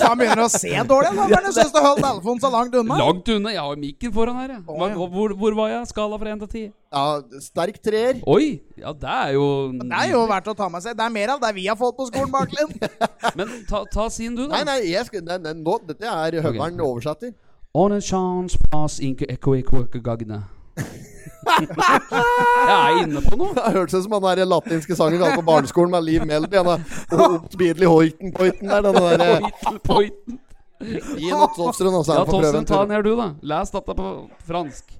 A: Han begynner å se dårlig. Han bare synes du holdt telefonen så langt unna.
B: Langt unna! Jeg har jo mikken foran her, jeg.
A: Å,
B: Hva-
A: ja.
B: hvor, hvor var jeg? Skala fra én til ti?
C: ja, sterk treer.
B: Oi! Ja, det er jo
A: Det er jo verdt å ta med seg. Det er mer av det vi har fått på skolen, Baklund.
B: Men ta, ta sin, du, da.
C: Nei, nei, jeg skal, nei, nei nå, dette er høveren oversetter.
B: On a chance pass in kwe kwe kwa kwa guagna. jeg er inne på noe.
C: Det har hørt seg som han der latinske sangen vi hadde på barneskolen med Liv Melby. Han er oppbidelig hoiten-poiten der. eh, Den der
B: Pointen, pointen.
C: Gi nå Tofstrøm, altså. Ja,
B: Ja, Tovsen, ta den
C: Tofstrøm,
B: her, du, da. Les dette på fransk.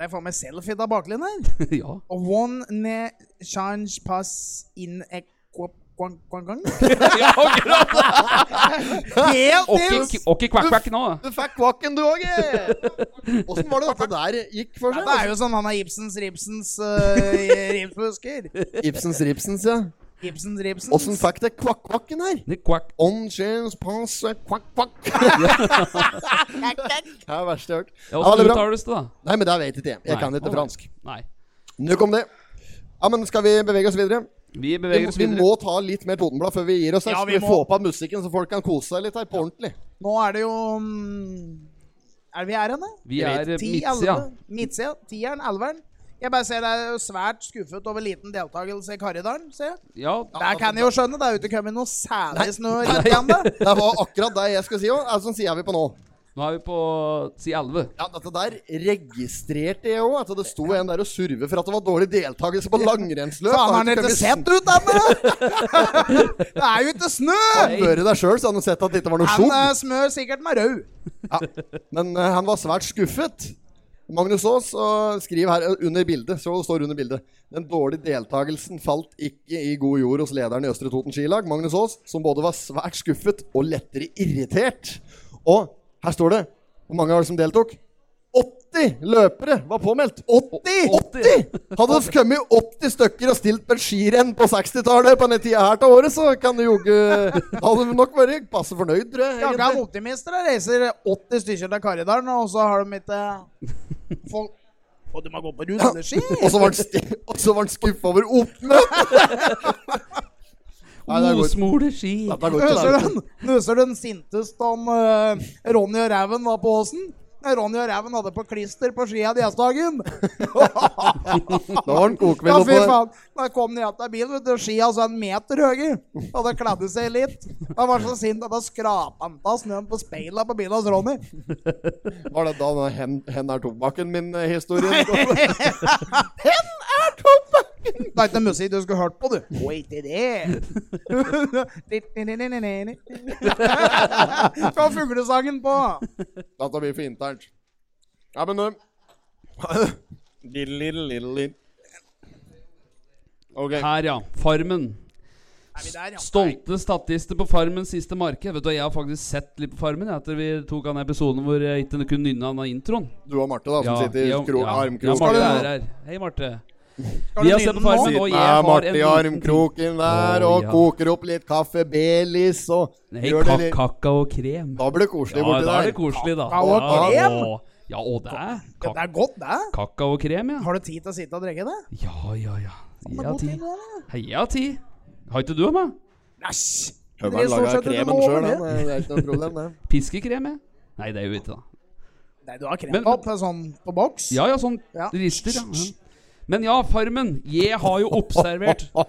A: Det er faen meg selfie av Baklund her.
B: ja.
A: One ne change pass in a quap- quang- quang- quang.
B: ja, akkurat!
A: Helt
B: Ok,
A: nils!
B: ok, kvakk, kvakk nå.
C: du fikk kvakken, du òg, eh! Åssen var det dette der gikk for
A: Ja,
C: seg?
A: det er jo sånn han er Ibsens Ribsens uh, eh, ribsbusker.
C: Ibsens Ripsens, ja.
A: Ibsens Ribsen.
C: Åssen fikk det kvakk-kvakken her?
B: Det Quack.
C: On chairs pass a kvakk-kvakk. det er det verste jeg har hørt.
B: Ja,
C: Ja, det
B: Åssen
C: er bra.
B: uttales det, da?
C: Nei, men det vet ikke jeg. Jeg
B: Nei.
C: kan ikke
B: Å, nei.
C: fransk.
B: Nei.
C: Nok om det. Ja, men skal vi bevege oss videre?
B: Vi
C: Vi,
B: beveger oss
C: vi
B: videre.
C: må ta litt mer Totenblad før vi gir oss her.
A: Ja,
C: så
A: vi
C: vi
A: må.
C: får på musikken, så folk kan kose seg litt her på ordentlig.
A: Nå er det jo mm, Er det vi er henne?
B: Vi er
A: Ti,
B: midtsida.
A: elleve. Midtsida. Tieren, elveren. Jeg bare ser det er jo svært skuffet over liten deltakelse i Karridalen, ser jeg.
B: Ja,
A: Der kan jeg jo skjønne, det er jo ikke kommet noe særlig snø rett
C: Det var akkurat det jeg skulle si òg. Sånn sier vi på nå.
B: nå er vi på si 11.
C: Ja, Dette der registrerte jeg òg. At det sto en der og surve for at det var dårlig deltakelse på langrennsløp.
A: Faen, har han ikke
C: ikke kommet
A: sett ut ennå? Det er jo ikke snø!
C: Han eh, bør i deg sjøl, så han har sett at det ikke var noe
A: Han
C: sjokk.
A: eh, smør sikkert med rød.
C: Men eh, han var svært skuffet. Magnus Aas og skriver her eh, under bildet, så det står under bildet. Den dårlige deltakelsen falt ikke i god jord hos lederen i Østre Toten skilag, Magnus Aas, som både var svært skuffet og lettere irritert. Og her står det Hvor mange var det som deltok? 80 løpere var påmeldt! 80! 80! Hadde det kommet 80 stykker og stilt på et skirenn på 60-tallet på denne tida her til året, så kan det jo ikke Da hadde vi nok vært passe fornøyd, tror jeg.
A: Jaggu
C: egentlig.
A: er optimister. De reiser 80 stykker til Karridalen, og så har de eh, ikke folk Og de må gå på rulleski!
C: Og så var han sti- og så var han skuffa over oppmøtet! Nei, det går ikke.
B: Osmole ski.
C: Dette går
A: Nuser
C: ikke.
A: den, nuser den sinteste om eh, Ronny og Ræven var på åsen? Nei, Ronny og Ræven hadde på klister på skia den eneste dagen.
C: Da var han
A: Ja, fy
C: kokvill oppå
A: faen. Da kom de igjen av bilen, vet du. Skia altså en meter høye. Hadde kledd seg litt. Han var så sint at han skrapa han av snøen på speilene på bilen hans, Ronny.
C: Var det da den hen, hen er tobakken eh, min-historien?
A: Hen er tobakken! Det er ikke musikk du skulle hørt på, du. Wait it Skal ha fuglesangen på.
C: Dette blir for internt. Ja, men eh, Lille, lille, lille, lille. OK.
B: Her, ja. Farmen.
A: Er vi der, ja?
B: Stolte statister på Farmen siste marked. Vet du, hva, Jeg har faktisk sett litt på Farmen jeg, etter vi tok han episoden hvor jeg ikke kunne nynne han av introen.
C: Du og Marte, da, som sitter i
B: jeg-
C: kro
B: ja. Ja,
C: armkroken.
B: Marte
C: Ja,
B: er her. Hei, Marte.
A: Skal
B: Vi
A: du
B: har sett
A: nynne
B: på Farmen.
A: nå?
B: og jeg
C: Med
B: har
C: Marte
B: en
C: i
B: liten
C: armkroken der,
B: Å,
C: og
B: ja.
C: koker opp litt kaffe Baileys og
B: Nei,
C: gjør det
B: ka
C: litt-
B: kakaokrem.
C: Da blir det koselig
B: Ja,
C: borti
B: da er
C: der.
B: det koselig, da.
A: Kakaokrem?
B: Ja, og- Ja, og det er
A: Ja, Det
B: ka
A: er godt, det.
B: kakaokrem, ja.
A: Har du tid til å sitte og drikke det?
B: Ja, ja, ja.
A: Det er
B: Ja,
A: god
B: ti.
A: tid nå, da.
B: Heia ti. Har ikke du av meg?
A: Æsj!
C: Høveren
A: Det er stort
C: lager
A: sett
C: kremen
A: ulovlig.
C: selv, han, eh, Det er ikke noe problem, det.
B: Piskekrem, jeg. Nei, det er jo ikke det.
A: Nei, du har
B: Men-
A: kremtopp sånn på boks?
B: Ja, ja, sånn
A: Ja.
B: rister, ja. ja. Men ja, Farmen. Jeg har jo observert
A: Nå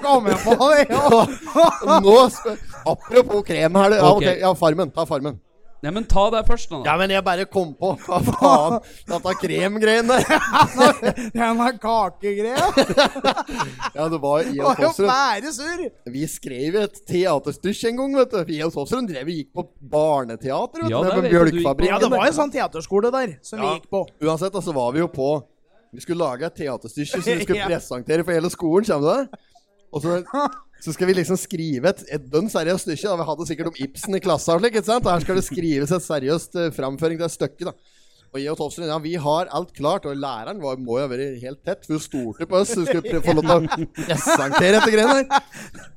A: kom jeg på det! Ja.
C: Nå sp- Apropos krem her, det- ja,
B: Ok.
C: ok, ja, Farmen. Ta Farmen.
B: Nei, men ta det først, da.
C: Ja, men jeg bare kom på Hva faen? Dette kremgreiene.
A: Den er kakegreia.
C: Ja, det var i
A: Det
C: og
A: var jo
C: Fossrud.
A: bare surr.
C: Vi skrev et teaterstykk en gang, vet du. Vi og Fossrud drev og gikk på barneteater, vet du.
B: Ja,
C: med
B: det vet jeg du gikk på.
A: Ja,
C: Bjølkfabrikken.
A: det var en sånn teaterskole der som vi
C: Ja.
A: gikk på.
C: Uansett, da, så var vi jo på Vi skulle lage et teaterstykke som vi skulle
A: Ja.
C: presentere for hele skolen, kommer du det? Og så, så skal vi liksom skrive et, et dønn seriøst stykke. Da. Vi hadde sikkert om Ibsen i klassen og slik, ikke sant? Og her skal det skrives et seriøst eh, framføring til et stykke, da. Og jeg og Tofsen, ja, vi har alt klart, og læreren var, må jo ha vært helt tett, for hun stolte på oss. Hun skulle pre- få lov til å presentere dette greiene der.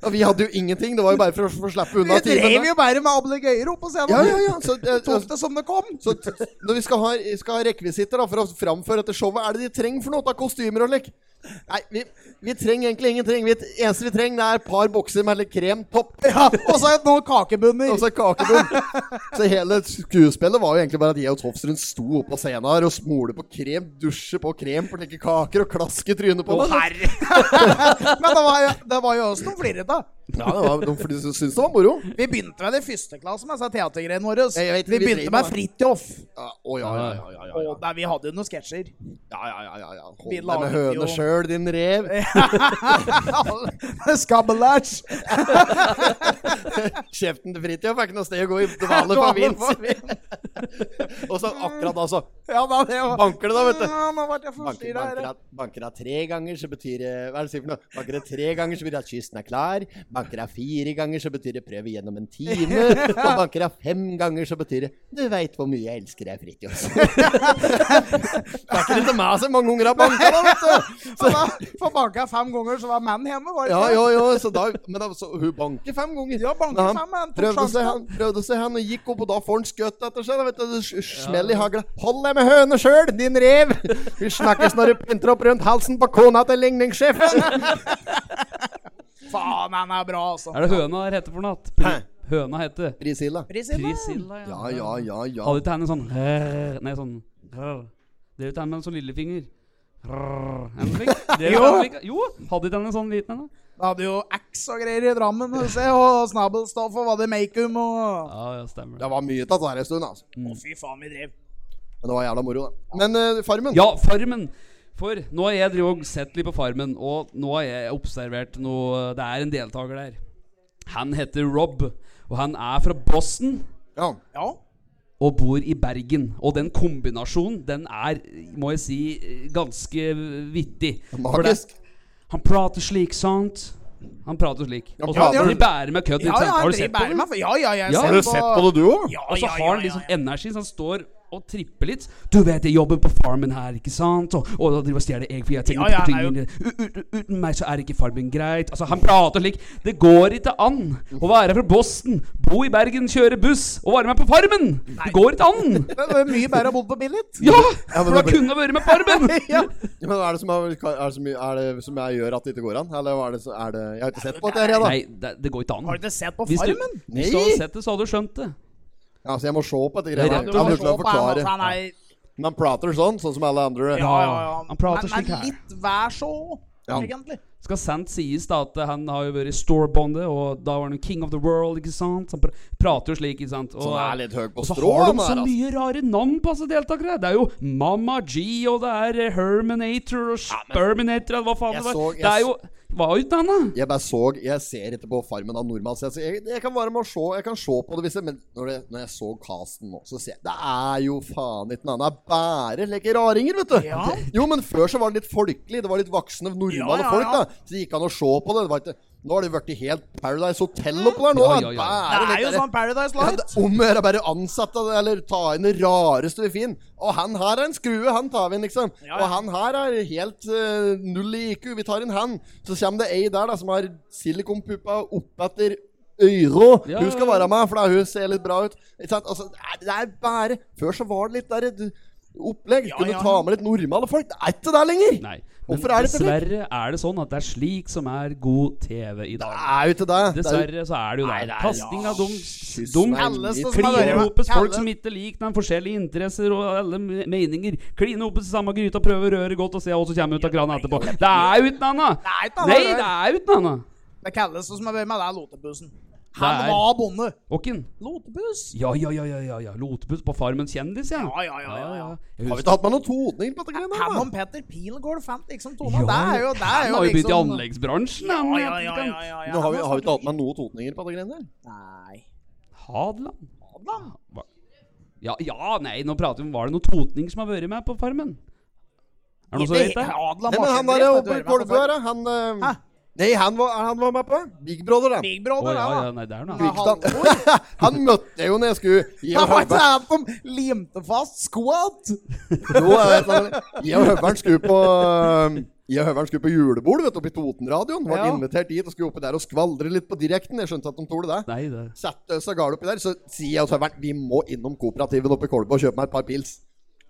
C: Og vi hadde jo ingenting, det var jo bare for å få slippe
A: Vi
C: unna timen.
A: drev
C: da.
A: jo bare med ablegøyer opp på scenen.
C: Ja, ja, ja. Så, eh,
A: Tok det som det kom.
C: så t- når vi skal ha, skal ha rekvisitter da, for å framføre dette showet, er det de trenger for noe? Da, kostymer og slik? Nei, vi, vi trenger egentlig ingenting. Vi, eneste vi trenger, det er et par bokser med litt kremtopp
A: Ja, og så et noen kakebunner.
C: og så en kakebunn. Så hele skuespillet var jo egentlig bare at jeg og Tofsrud sto oppe på scenen her og smole på krem, dusje på krem på slike kaker og klaske trynet på det.
A: Men det var jo, det var jo også noen flirrete.
C: Ja, det var, de de syntes det var moro.
A: Vi begynte med det i første klasse med disse teatergreiene våre.
C: Jeg vet ikke,
A: Vi
C: vi
A: begynte
C: driver
A: med
C: med-
A: Fridtjof.
C: Ja, å, ja, ja, ja, ja, ja, ja.
A: Og der vi hadde jo noen sketsjer.
C: ja, ja, ja, ja, ja. Hold
A: Vi
C: deg med
A: laget jo-
C: høne sjøl, din rev.
A: Skabbelæsj!
C: Kjeften til Fridtjof er ikke noe sted å gå i dvale for vilt. Og så akkurat da så
A: Ja, da, det var...
C: Banker det da, vet du.
A: Ja, nå ble jeg
C: Banker,
A: forstyrra
C: banker,
A: her.
C: deg- banker deg tre ganger, så betyr det Hva er det du sier for noe? Banker deg tre ganger, så betyr det at kysten er klar. Banker deg fire ganger, så betyr det prøv gjennom en time. Og banker deg fem ganger, så betyr det du veit hvor mye jeg elsker deg, Fridtjof. Det er ikke det til meg så mange ganger jeg har banka, da, vet du.
A: Så da, for banka jeg fem ganger, så var mannen hjemme, var det
C: Ja,
A: ikke?
C: jo, jo, så da Men da, så, hun banker fem ganger.
A: Ja, banker
C: Men
A: fem, men tok
C: prøvde seg,
A: sjansen.
C: han prøvde seg, han og gikk opp, og da får han skutt etter seg. Da, vet du, s- s- Smell i hagla. Hold deg med høna sjøl, din rev! Vi snakkes når du pynter opp rundt halsen på kona til ligningssjefen!
A: Faen, han er bra, altså.
B: Er det høna her heter for noe? annet?
C: Hæ?
B: Pri- Høna heter
C: Priscilla.
A: Prisilla.
B: Priscilla.
C: Ja, ja, ja, ja.
B: Hadde ikke han en sånn rrr, Nei, sånn rrr. Drev ikke han med en sånn lillefinger? Rrr, en slik? Drev ikke han slik? Jo, hadde ikke han en sånn liten en? da?
A: Det hadde jo X og greier i Drammen, du se, og Snabelstoff og var det Makeum og
B: Ja, ja, stemmer
C: Det
B: det.
C: var mye tatt der en stund, altså.
A: Å, fy faen, vi drev.
C: Men det var jævla moro, da. Men eh, Farmen
B: Ja, Farmen! For nå har jeg drevet og sett litt på Farmen, og nå har jeg observert noe Det er en deltaker der. Han heter Rob, og han er fra Boston.
C: Ja.
A: Ja.
B: og bor i Bergen. Og den kombinasjonen, den er, må jeg si, ganske vittig. For det-
C: Magisk.
B: Han prater slik, sant? Han prater slik. Og så
C: prater-
B: han de bærer med kødd.
A: Ja,
B: ikke sant?
A: ja,
B: har
A: han
B: du sett
A: driver
B: på
A: bare
B: det?
A: meg for- Ja, ja, jeg
B: Ja.
A: har
B: Har
A: sett på-
C: det, du òg?
A: Ja,
B: Og så
A: ja,
B: har han
A: ja,
B: liksom
A: ja, ja.
B: energi, så han står og tripper litt. Du vet, jeg jobber på farmen her, ikke sant? Og, og da driver og stjeler egg, for jeg
A: Ja,
B: tenker
A: ja,
B: på
A: han
B: tingene. U- u- Uten meg så er ikke farmen greit. Altså, han prater slik. Det går ikke an å være fra Boston, bo i Bergen, kjøre buss og være med på farmen! Det går ikke an!
A: Det var mye bedre å bo på Billit.
B: Ja!
C: Ja, men
B: for da
C: det-
B: kunne jeg vært med Farmen!
A: Ja.
C: Men hva er det, som er, er, det som, er det som jeg gjør at det ikke går an? Eller hva er det, som- er det Jeg har ikke sett på dette her, jeg, da.
B: Nei, det, det går ikke an.
A: Har du ikke sett på
B: Hvis du-
A: Farmen?
B: Hvis du hadde
C: Nei!
B: sett det, så hadde du skjønt det.
C: Ja, så jeg må se på dette
B: Det
C: greiet.
B: er
C: Ja,
B: rett
C: du
B: og
C: kan
B: slett.
C: forklare forklare.
A: Han er
C: Men han prater sånn, sånn som alle andre.
A: Ja, ja, ja.
B: Han
A: men,
B: prater slik her.
A: Men litt vær så,
C: Ja.
A: egentlig.
B: Skal sant sies da at han har jo vært storbonde, og da var han jo king of the world, ikke sant? Han pr prater jo slik, ikke sant? Og,
C: Så han Sånn er litt høy på
B: og så
C: strå,
B: har sånn
C: han
B: de
C: der,
B: så
C: altså.
B: mye rare navn på disse deltakere. Det er jo Mamma G, og det er eh, Herminator og Sperminator, eller hva faen
C: Jeg
B: det var.
C: så- jeg
B: det er jo Hva er uten han, da?
C: Jeg bare så, jeg ser ikke på Farmen av nordmann. Så jeg, jeg, jeg kan være med å se, jeg kan se på det hvis jeg Men når, det, når jeg så casten nå, så ser jeg Det er jo faen ikke noe annet. Det er Bare leker raringer, vet du.
A: Ja.
C: Jo, men før så var det litt folkelig. Det var litt voksne,
A: Ja,
C: normale
A: ja,
C: folk,
A: ja.
C: da. Så det gikk an å se på det. det var ikke, nå har det blitt helt Paradise Hotel oppå der nå. da.
B: Ja, ja, ja.
C: Bare
A: Det er jo
C: leker-
A: sånn Paradise
C: Ja,
A: Light.
C: det er om å gjøre bare ansette det, eller ta inn det rareste vi finner. Og han her er en skrue, han tar vi inn, liksom.
A: Ja, ja.
C: Og han her er helt eh, null i IQ, vi tar inn han. Så kommer det ei der da, som har silikonpuppa oppetter øyra.
B: Ja,
C: hun skal
B: ja, ja.
C: være med, for da hun ser litt bra ut. Ikke sant? Altså, det er- det er bare Før så var det litt der et opplegg.
A: Ja,
C: Kunne
A: ja,
C: ta
A: ja.
C: med litt normale folk. Det er ikke det lenger!
B: Nei. Men
C: Hvorfor er det slik?
B: dessverre er det sånn at det er slik som er god TV i
C: Det
B: dag.
C: er jo ikke det. Det er jo-
B: Dessverre så er det jo
C: Nei,
B: det.
C: det er-
B: Kasting av dum,
C: Kyss
B: dum
C: meg
A: Alle
C: midt
A: som
C: i
A: skal være
B: Kline
A: med.
B: opp hos folk
A: Alle-
B: som ikke liker den forskjellige interesser og alle me- meninger. Kline opp i samme gryte og prøve å røre godt og se hva som kommer ut av krana etterpå. Det er uten annet!
A: Nei, det er
B: Nei,
A: det.
B: det er uten annet!
A: Det kalles som er med, det er Lotebussen. Han
B: Det er-
A: var bonde.
B: Åkken?
A: Lotebuss?
B: Ja, ja, ja, ja, ja, ja. Lotebuss på Farmen kjendis, ja.
A: Ja, ja, ja, ja, ja.
B: Jeg
C: Har vi
B: husker-
C: ikke hatt med noen toninger på dette greiene? her,
A: Han
C: da?
A: og Petter Pilgaard fant liksom
B: Ja,
A: tona. Det er jo, det er
B: han
A: jo
B: har jo begynt i
A: liksom
B: anleggsbransjen,
A: Ja,
B: han.
A: ja, ja, ja, ja, ja.
C: Nå har vi, har vi ikke hatt med noen toninger på dette greiene? her?
A: Nei.
B: Hadeland?
A: Adam.
B: Ja, ja, nei, nå prater vi om Var det noen totning som har vært med på Farmen? Er det noen som vet det?
A: Adlan
C: Nei, men han der oppe i Kolbu her, han eh,
A: Hæ?
C: Nei, han var, han var med på Big Brother, da.
A: Big Brother,
B: Å, ja, ja,
A: da.
B: nei, det er noe.
A: Ja,
B: annet.
A: han-
C: Bygda. han møtte jeg jo når jeg skulle gi
A: Det
C: og
A: var ikke
C: høveren
A: han som limte fast squat!
C: Jo, jeg vet det. Jeg og høveren skulle på eh, jeg og høveren skulle på julebord vet du, oppe i Totenradioen. Ble
A: Ja.
C: invitert dit og skulle oppi der og skvaldre litt på direkten. Jeg skjønte at de tålte det.
B: Nei, det
C: Sette seg gale oppi der, så sier jeg til høveren vi må innom kooperativen oppe i Kolbu og kjøpe meg et par pils.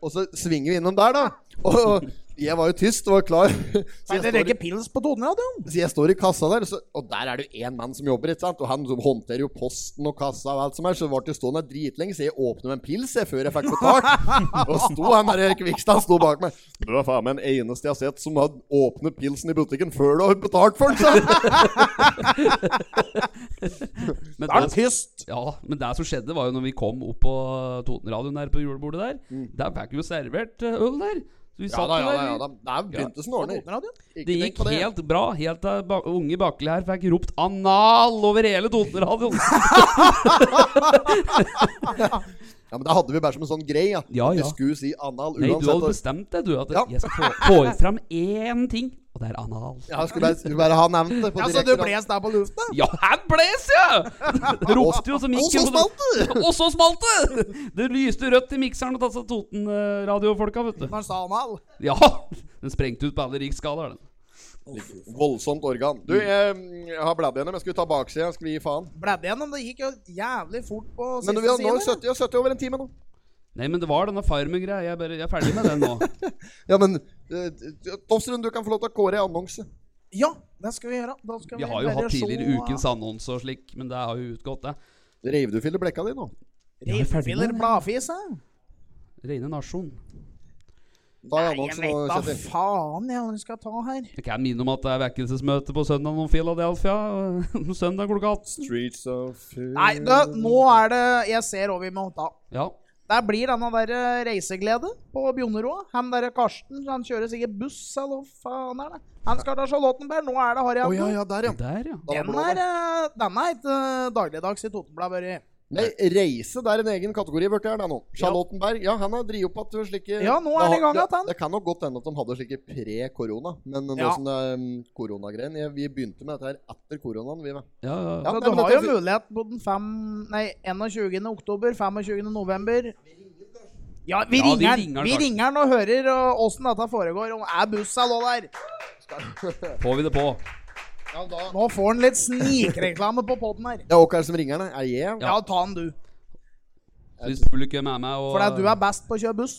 C: Og så svinger vi innom der, da. Og jeg var jo tyst og var klar. Så
A: Nei, det
C: jeg står i-
A: røyker pils på toneradioen.
C: Så jeg står i kassa der, så, og der er det jo én mann som jobber, ikke sant? og han som håndterer jo posten og kassa og alt som er, så ble det stående dritlenge, så jeg åpner med en pils jeg, før jeg fikk betalt. og sto han der Kvikstad sto bak meg. Det var faen meg den eneste jeg har sett som hadde åpnet pilsen i butikken før du har betalt for den, sa han.
B: Men
A: Da er
B: det-
A: han tyst.
B: Ja, men det som skjedde var jo når vi kom opp på Totenradioen der på julebordet der, der fikk vi jo servert eh, øl der. Så vi
C: Mm. Ja
B: satt
C: da, ja
B: der,
C: da.
B: vi-
C: ja da. Det er begynte snorner. Ikke
B: Det
C: tenk
B: gikk
C: på det.
B: helt bra, helt til ba unge Bakkeli her fikk ropt 'anal' over hele Totenradioen.
C: Ja, men Det hadde vi bare som en sånn grei. Ja.
B: Ja, ja.
C: Jeg skulle si anal
B: Nei, du
C: uansett.
B: hadde bestemt deg, du. At
C: Ja.
B: jeg skal få, få fram én ting, og det er anal.
C: Ja, jeg skulle bare, skulle bare ha nevnt det på
A: Ja, så du
C: direkte. da.
A: bles der på lufta?
B: Ja, her bles jeg! Det ropte jo så
C: Og
B: mikken
C: så
B: på
C: smalt det!
B: det. Og så smalt det! Det lyste rødt i mikseren og tasset Toten-radiofolka, vet du.
A: Når han sa anal?
B: Ja! Den sprengte ut på alle riksskalaer, den.
C: Voldsomt organ. Du, jeg,
A: Mm.
C: jeg har bladd gjennom. Jeg skulle ta baksida. Jeg skulle gi faen.
A: Bladde gjennom, det gikk jo jævlig fort på
C: Men
A: siste
C: vi har nå
A: side.
C: 70, ja, 70 over en time nå.
B: Nei, men det var denne Farmen-greia. Jeg, bare- jeg er ferdig med den nå.
C: Ja, men uh, Tofsrud, du kan få lov til å kåre en annonse.
A: Ja, det skal vi gjøre. Da skal
B: Vi
A: vi
B: har jo
A: bare
B: hatt tidligere
A: se-
B: ukens annonse og slik, men det har jo utgått, det.
C: Reiv du filler blekka di nå?
B: Ja, vi er ferdig med
A: Rivfiller
B: det.
A: bladfis, hæ?
B: Reine nasjon.
C: Ta en
A: Jeg
C: annonse nå,
A: vet da
C: Kjetil.
A: faen jeg hva vi skal ta her.
B: Jeg kan minne om at det er vekkelsesmøte på søndag om Philadelphia. og søndag klokka 18.
C: Streets of
A: Nei, du, nå er det Jeg ser hva vi må ta.
B: Ja.
A: Der blir denne der eh, reiseglede på Bjoneroa. Han derre Karsten, han kjører sikkert buss, eller hva faen er det? Han skal til Charlottenberg. Nå er det Harry
C: Å
A: Anton.
C: ja, ja, der, ja.
B: Der, ja.
C: Da var
A: Den
C: blå,
A: er,
C: da.
A: eh, den er ikke eh, dagligdags i Totenbladet, Børre.
C: Nei, reise det er en egen kategori blitt her, det nå. Charlottenberg. Ja, han har dritt opp at slike
A: Ja, nå er det i gang at han-
C: Det kan nok godt hende at de hadde slike pre-korona, men nå
A: Ja.
C: som det er um, koronagreien jeg- Vi begynte med dette her etter koronaen, vi, vet.
B: ja, ja.
C: Ja,
A: Så
C: nei,
A: du
C: men
A: har jo
C: dette-
A: mulighet på den fem, nei, 21. oktober, 25. november. Ja, vi
B: Ja, vi
A: ringer
B: ringer
A: den.
B: den,
A: Vi
B: Karsten.
A: ringer den og hører eh, åssen dette foregår. Om er bussa lå der?
B: Får vi det på.
C: Ja, da
A: Nå får han litt snikreklame på poden her.
C: Det er hvem som ringer, den? Er det jeg?
A: Ja, ta den du.
B: Så Hvis publikum er med og
A: For det er du er best på å kjøre buss.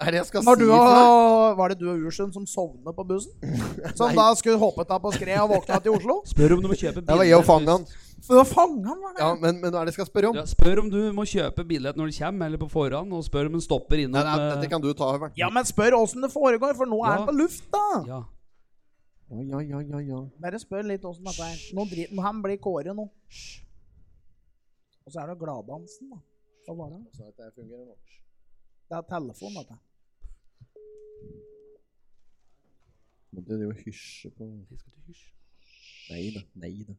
C: Er det jeg skal
A: Når
C: si
A: du
C: for deg?
A: og, var det du og Ursund som sovnet på bussen? Som da skulle hoppet av på skred og våkna til Oslo?
B: Spør om du må kjøpe
C: Det var jeg og fanget han.
A: For å fange han, var det?
C: Ja, men, men hva er det jeg skal spørre om?
B: Ja, spør om du må kjøpe billett når du kommer, eller på forhånd, og spør om en stopper innom
C: Nei, nei,
B: eh,
C: dette kan du ta, Høveren.
A: Ja, men spør åssen det foregår, for nå
B: Ja.
A: er han på lufta.
B: eh, ja.
C: Ja, ja, ja, ja, ja.
A: Bare spør litt åssen dette er. Nå drit, nå- han blir Kåre nå. Og så er det Gladdansen, da. Hva var det?
C: Så dette fungerer nå.
A: Det er telefon, dette.
C: Men det er jo å hysje på Nei da, nei da.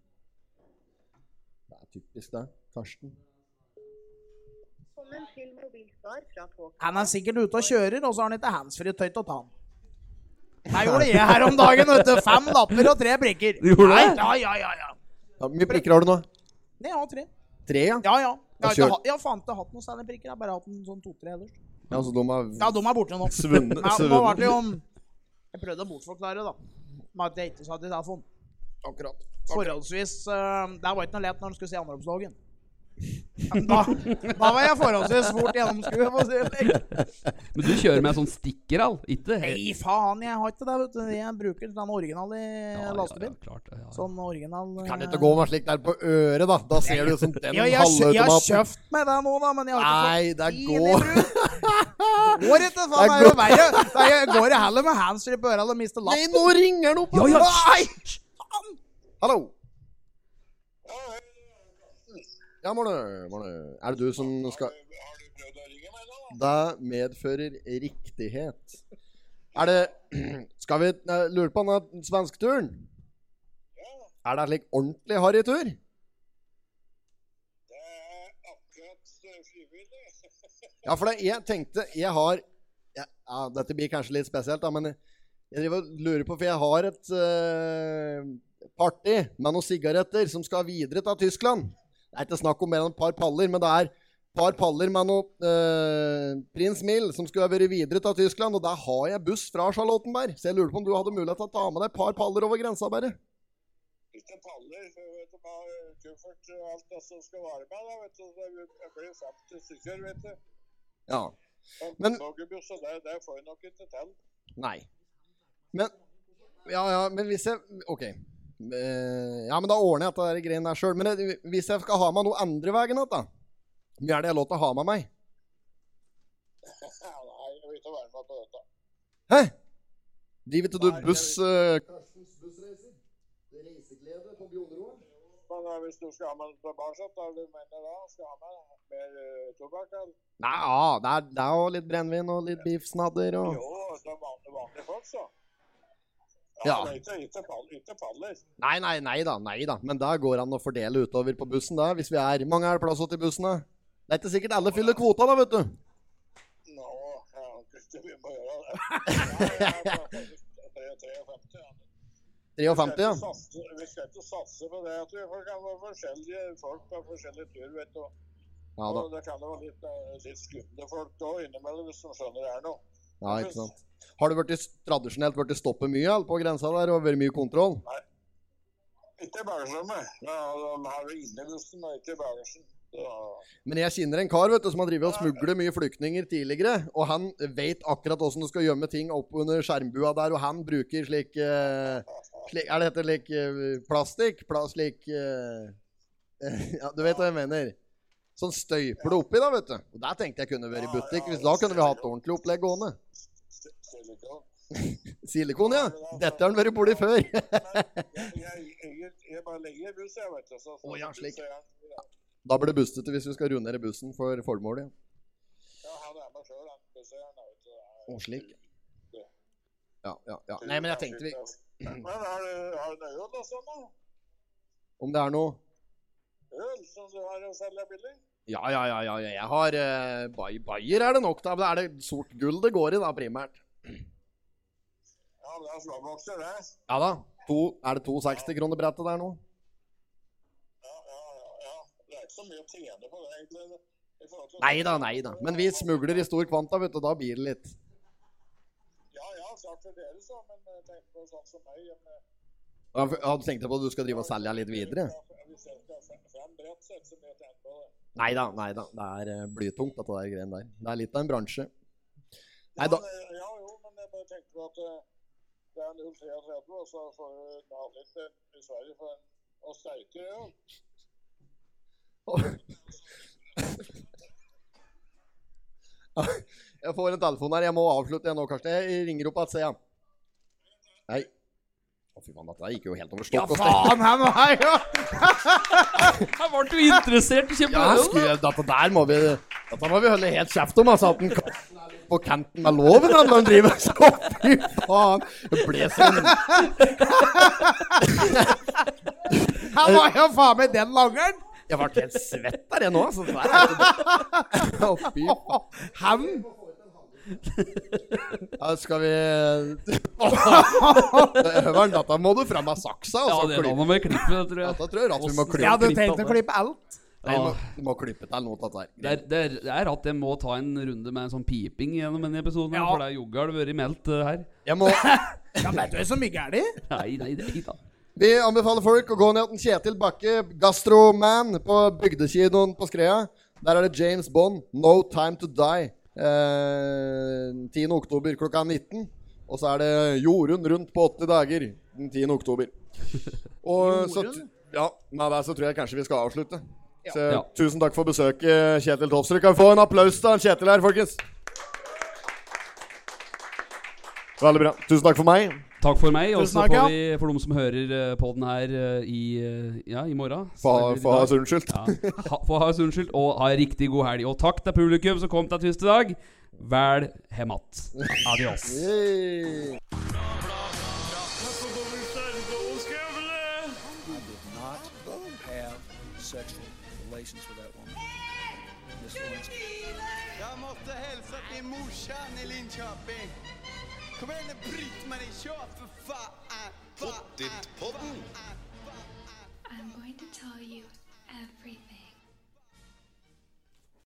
C: Det er typisk det, Karsten.
G: Velkommen til Mobilsvar fra Tåk.
A: Han er sikkert ute og kjører, og så har han ikke handsfree tøyt å ta han. Det gjorde jeg her om dagen, vet du. Fem lapper og tre brikker.
B: Du gjorde det?
A: Nei, ja, ja, ja, ja.
C: Ja, Hvor mye prikker har du nå?
A: Nei, jeg har tre.
C: Tre, ja?
A: Ja, ja. Jeg har,
C: Da
A: ikke
C: kjør.
A: hatt- jeg har faen ikke hatt noen særlig prikker. Jeg har bare hatt en sånn to-tre ellers.
B: Mm.
C: Ja, så de har
A: Ja, de er borte nå.
C: Svunnet-
A: Men Nå
C: svunnet.
A: var det jo Jeg prøvde å bortforklare, da. Med at jeg ikke satt i telefonen.
C: akkurat
A: Forholdsvis eh, Det var ikke noe lett når han skulle se anropsdagen. Da, da var jeg forholdsvis fort gjennomskuet, for å si det slik.
B: Men du kjører med en sånn stikker, all? Ikke
A: Nei, faen, jeg har ikke det, vet du. Jeg bruker den originale
B: ja,
A: lastebil.
B: Ja, ja, klart, ja, ja.
A: Sånn original eh,
C: Kan det ikke gå med slik der på øret, da? Da ser du sånn- ut som den
A: ja, jeg, kjø- jeg har
C: halvautomaten.
A: kjøpt meg det nå, da, men jeg har
C: Nei, det
A: ikke
C: går
A: Går ikke, faen. Det er jo verre. Det er- jeg går heller med handsfree på øra og mister
C: Nei,
A: lappen.
C: nå ringer den opp!
B: Ja, ja.
C: Nei! Hallo. Ja, Morne. Morne. Er det du som skal
H: Har du prøvd å ringe meg nå?
C: Det medfører riktighet. Er det Skal vi nei, lure på den svensketuren? Er det slik ordentlig harrytur?
H: Det er akkurat eh, frivillig.
C: Ja, for det, jeg tenkte Jeg har ja, ja, Dette blir kanskje litt spesielt, da, men jeg driver og lurer på For jeg har et eh, party med noen sigaretter som skal videre til Tyskland. Det er ikke snakk om mer enn et par paller, men det er et par paller med noe eh, prins Mill som skulle ha vært videre til Tyskland, og der har jeg buss fra Charlottenberg. Så jeg lurer på om du hadde mulighet til å ta med deg et par paller over grensa, bare.
H: Ikke paller, for vet du hva, eh, kuffert og alt det som skal være med, da, vet du. Det det blir 50 stykker, vet du.
C: Ja.
H: Og
C: Men-
H: togbuss, og det, det får jeg nok ikke til.
C: Nei. Men Ja, ja, men hvis jeg OK. Eh, ja, men da ordner jeg dette der greiene der sjøl. Men det, hvis jeg skal ha med noe andre veien igjen, da? Hva er det jeg har lov til å ha med meg?
H: Ja, Nei, jeg vil ikke være med på dette.
C: Hæ? Driver ikke du buss eh, Karstens bussreiser? Reiseglede på Bjoneroa?
H: Men eh, hvis du skal ha med den tilbake, hva er det du mener da? Skal ha med mer eh, tobakk? eller?
C: Nei, ja, det er, det er jo litt brennevin og litt biffsnadder og
H: Jo, det er vanlige, vanlige folk, så.
C: Ja.
H: det er Ikke, ikke, pall- ikke paller.
C: Nei, nei, nei da. nei da. Men det går an å fordele utover på bussen, da, hvis vi er Mange er det plass til bussen, da? Det er ikke sikkert alle fyller kvota, da, vet du.
H: Nå, jeg har ikke så mye å gjøre. Ja, jeg er faktisk 53, ja.
C: 53, ja.
H: satse- Vi skal ikke satse på det. at vi folk kan være forskjellige folk på forskjellig tur, vet du.
C: Ja da.
H: Og det kan jo være litt, eh, litt skumle folk òg innimellom, hvis de skjønner det er noe.
C: Ja, ikke sant. Har du vært i- tradisjonelt vært i stoppet mye eller, på grensa der og vært mye kontroll?
H: Ikke i bagasjerommet. Ja, de har jo inne i bussen, og ikke i bagasjen. Så-
C: Men jeg kjenner en kar vet du, som har drevet og smuglet mye flyktninger tidligere. Og han veit akkurat åssen du skal gjemme ting opp under skjermbua der, og han bruker slik, eh, slik Er det dette slik eh, plastikk? Pla, slik eh, Ja, du vet hva jeg mener. Sånn støyper du oppi, da, vet du. Og der tenkte jeg kunne vært i butikk. Hvis da kunne vi hatt ordentlig opplegg gående.
H: Silikon.
C: Silikon, ja. Dette har han vært borti før.
H: Jeg, jeg, jeg, jeg bare legger i bussen, jeg, vet du. Så, så,
C: Å, ja, slik.
H: så jeg-
C: Da blir det bustete hvis vi skal roe ned i bussen for formålet. ja.
H: Ja, han er med sjøl, han. busseieren, da, vet du.
C: Og slik. Ja, ja, ja. Nei, men jeg tenkte vi
H: Men har du, har du noe øl og sånn, da?
C: Om det er noe
H: Øl som du har å selge billig?
C: Ja, ja, ja, ja, ja. jeg har eh, bay- Bayer er det nok, da. Men er det sort gull det går i, da, primært?
H: Ja, men det er slåbokser, det.
C: Ja da. To, er det 260 kroner brettet der nå?
H: Ja, ja, ja, ja. Det er ikke så mye å tjene på det, egentlig. i forhold til-
C: Nei da, nei da. Men vi smugler i stor kvanta, vet du. Da blir det litt.
H: Ja, ja, klart for dere, så. Men eh, tenk på sånn som meg. om, eh,
C: Ja, for- ja, Du tenkte på at du skal drive og selge litt videre?
H: Hvis jeg skal se- fram bredt, så er det ikke så mye å tjene på det.
C: Nei da, nei da. Det er eh, blytungt, dette der greien der. Det er litt av en bransje. Nei da.
H: Men, eh, Ja, jo, men jeg bare tenkte på at eh, det er 0,33, og så får du Nav litt eh, i Sverige for en og sterkere øl.
C: Jeg får en telefon her. Jeg må avslutte jeg nå, Karsten. Jeg ringer opp igjen, ser jeg. Nei. Å, fy faen, dette der gikk jo helt
A: Ja,
C: over stokk og stein.
A: faen, han var her, ja!
B: Jeg ble jo interessert i
C: Ja, skulle, jeg- dette der må vi Dette må vi holde helt kjeft om, altså. At den Karsten er litt på kanten med loven han, når han driver så Fy faen! Det ble sånn
A: Han var jo faen meg den langeren!
C: Jeg ble helt svett der, jeg nå, altså. Det der er- Å, fy faen.
A: Han
C: Ja, skal vi Høveren, dette må du fram med saksa.
B: Ja,
C: Altså,
B: det er
C: klype.
B: noe med klippet, tror jeg.
C: Dette tror jeg at vi må
B: Åssen-
C: klype.
A: Jeg hadde
B: klippet
A: tenkt å
B: opp der.
A: klippe alt.
C: Nei, du må,
B: Ja.
C: du må klype til noe av dette
B: Det
C: her.
B: er, det, er, det er at jeg må ta en runde med en sånn piping gjennom denne episoden. her,
A: Ja.
B: For det er jogga har det vært meldt eh, her.
C: Jeg må,
A: Ja, vet du så mye er det?
B: Nei, nei, nei da.
C: vi anbefaler folk å gå ned til Kjetil Bakke, gastroman, på bygdekinoen på Skrea. Der er det James Bond, No Time To Die. Eh, 10. oktober klokka 19. Og så er det Jorunn rundt på 80 dager den 10. oktober. Og så,
A: Jorunn?
C: ja, med det så tror jeg kanskje vi skal avslutte. Så
B: Ja.
C: tusen takk for besøket, Kjetil Topsrud. Kan vi få en applaus til han Kjetil her, folkens? Veldig bra. Tusen takk for meg.
B: Takk for meg. Og
A: Tusen
B: så
A: takk, ja.
B: får vi, for dem som hører eh, podden her eh, i, eh, ja, i morgen
C: Få
B: eller i
C: få ha
B: dag.
C: oss unnskyldt.
B: Ja. Ha- Få ha oss unnskyldt, og ha en riktig god helg. Og takk til publikum som kom til tyst i dag. Vel hemat. Adios.
C: Hey.
D: not have sexual relations with that woman. Miss Lewinsky.
E: Jag måste hälsa till morsan i Linköping. Kom igen nu Britt-Marie, kör för fan! Pottitpodden!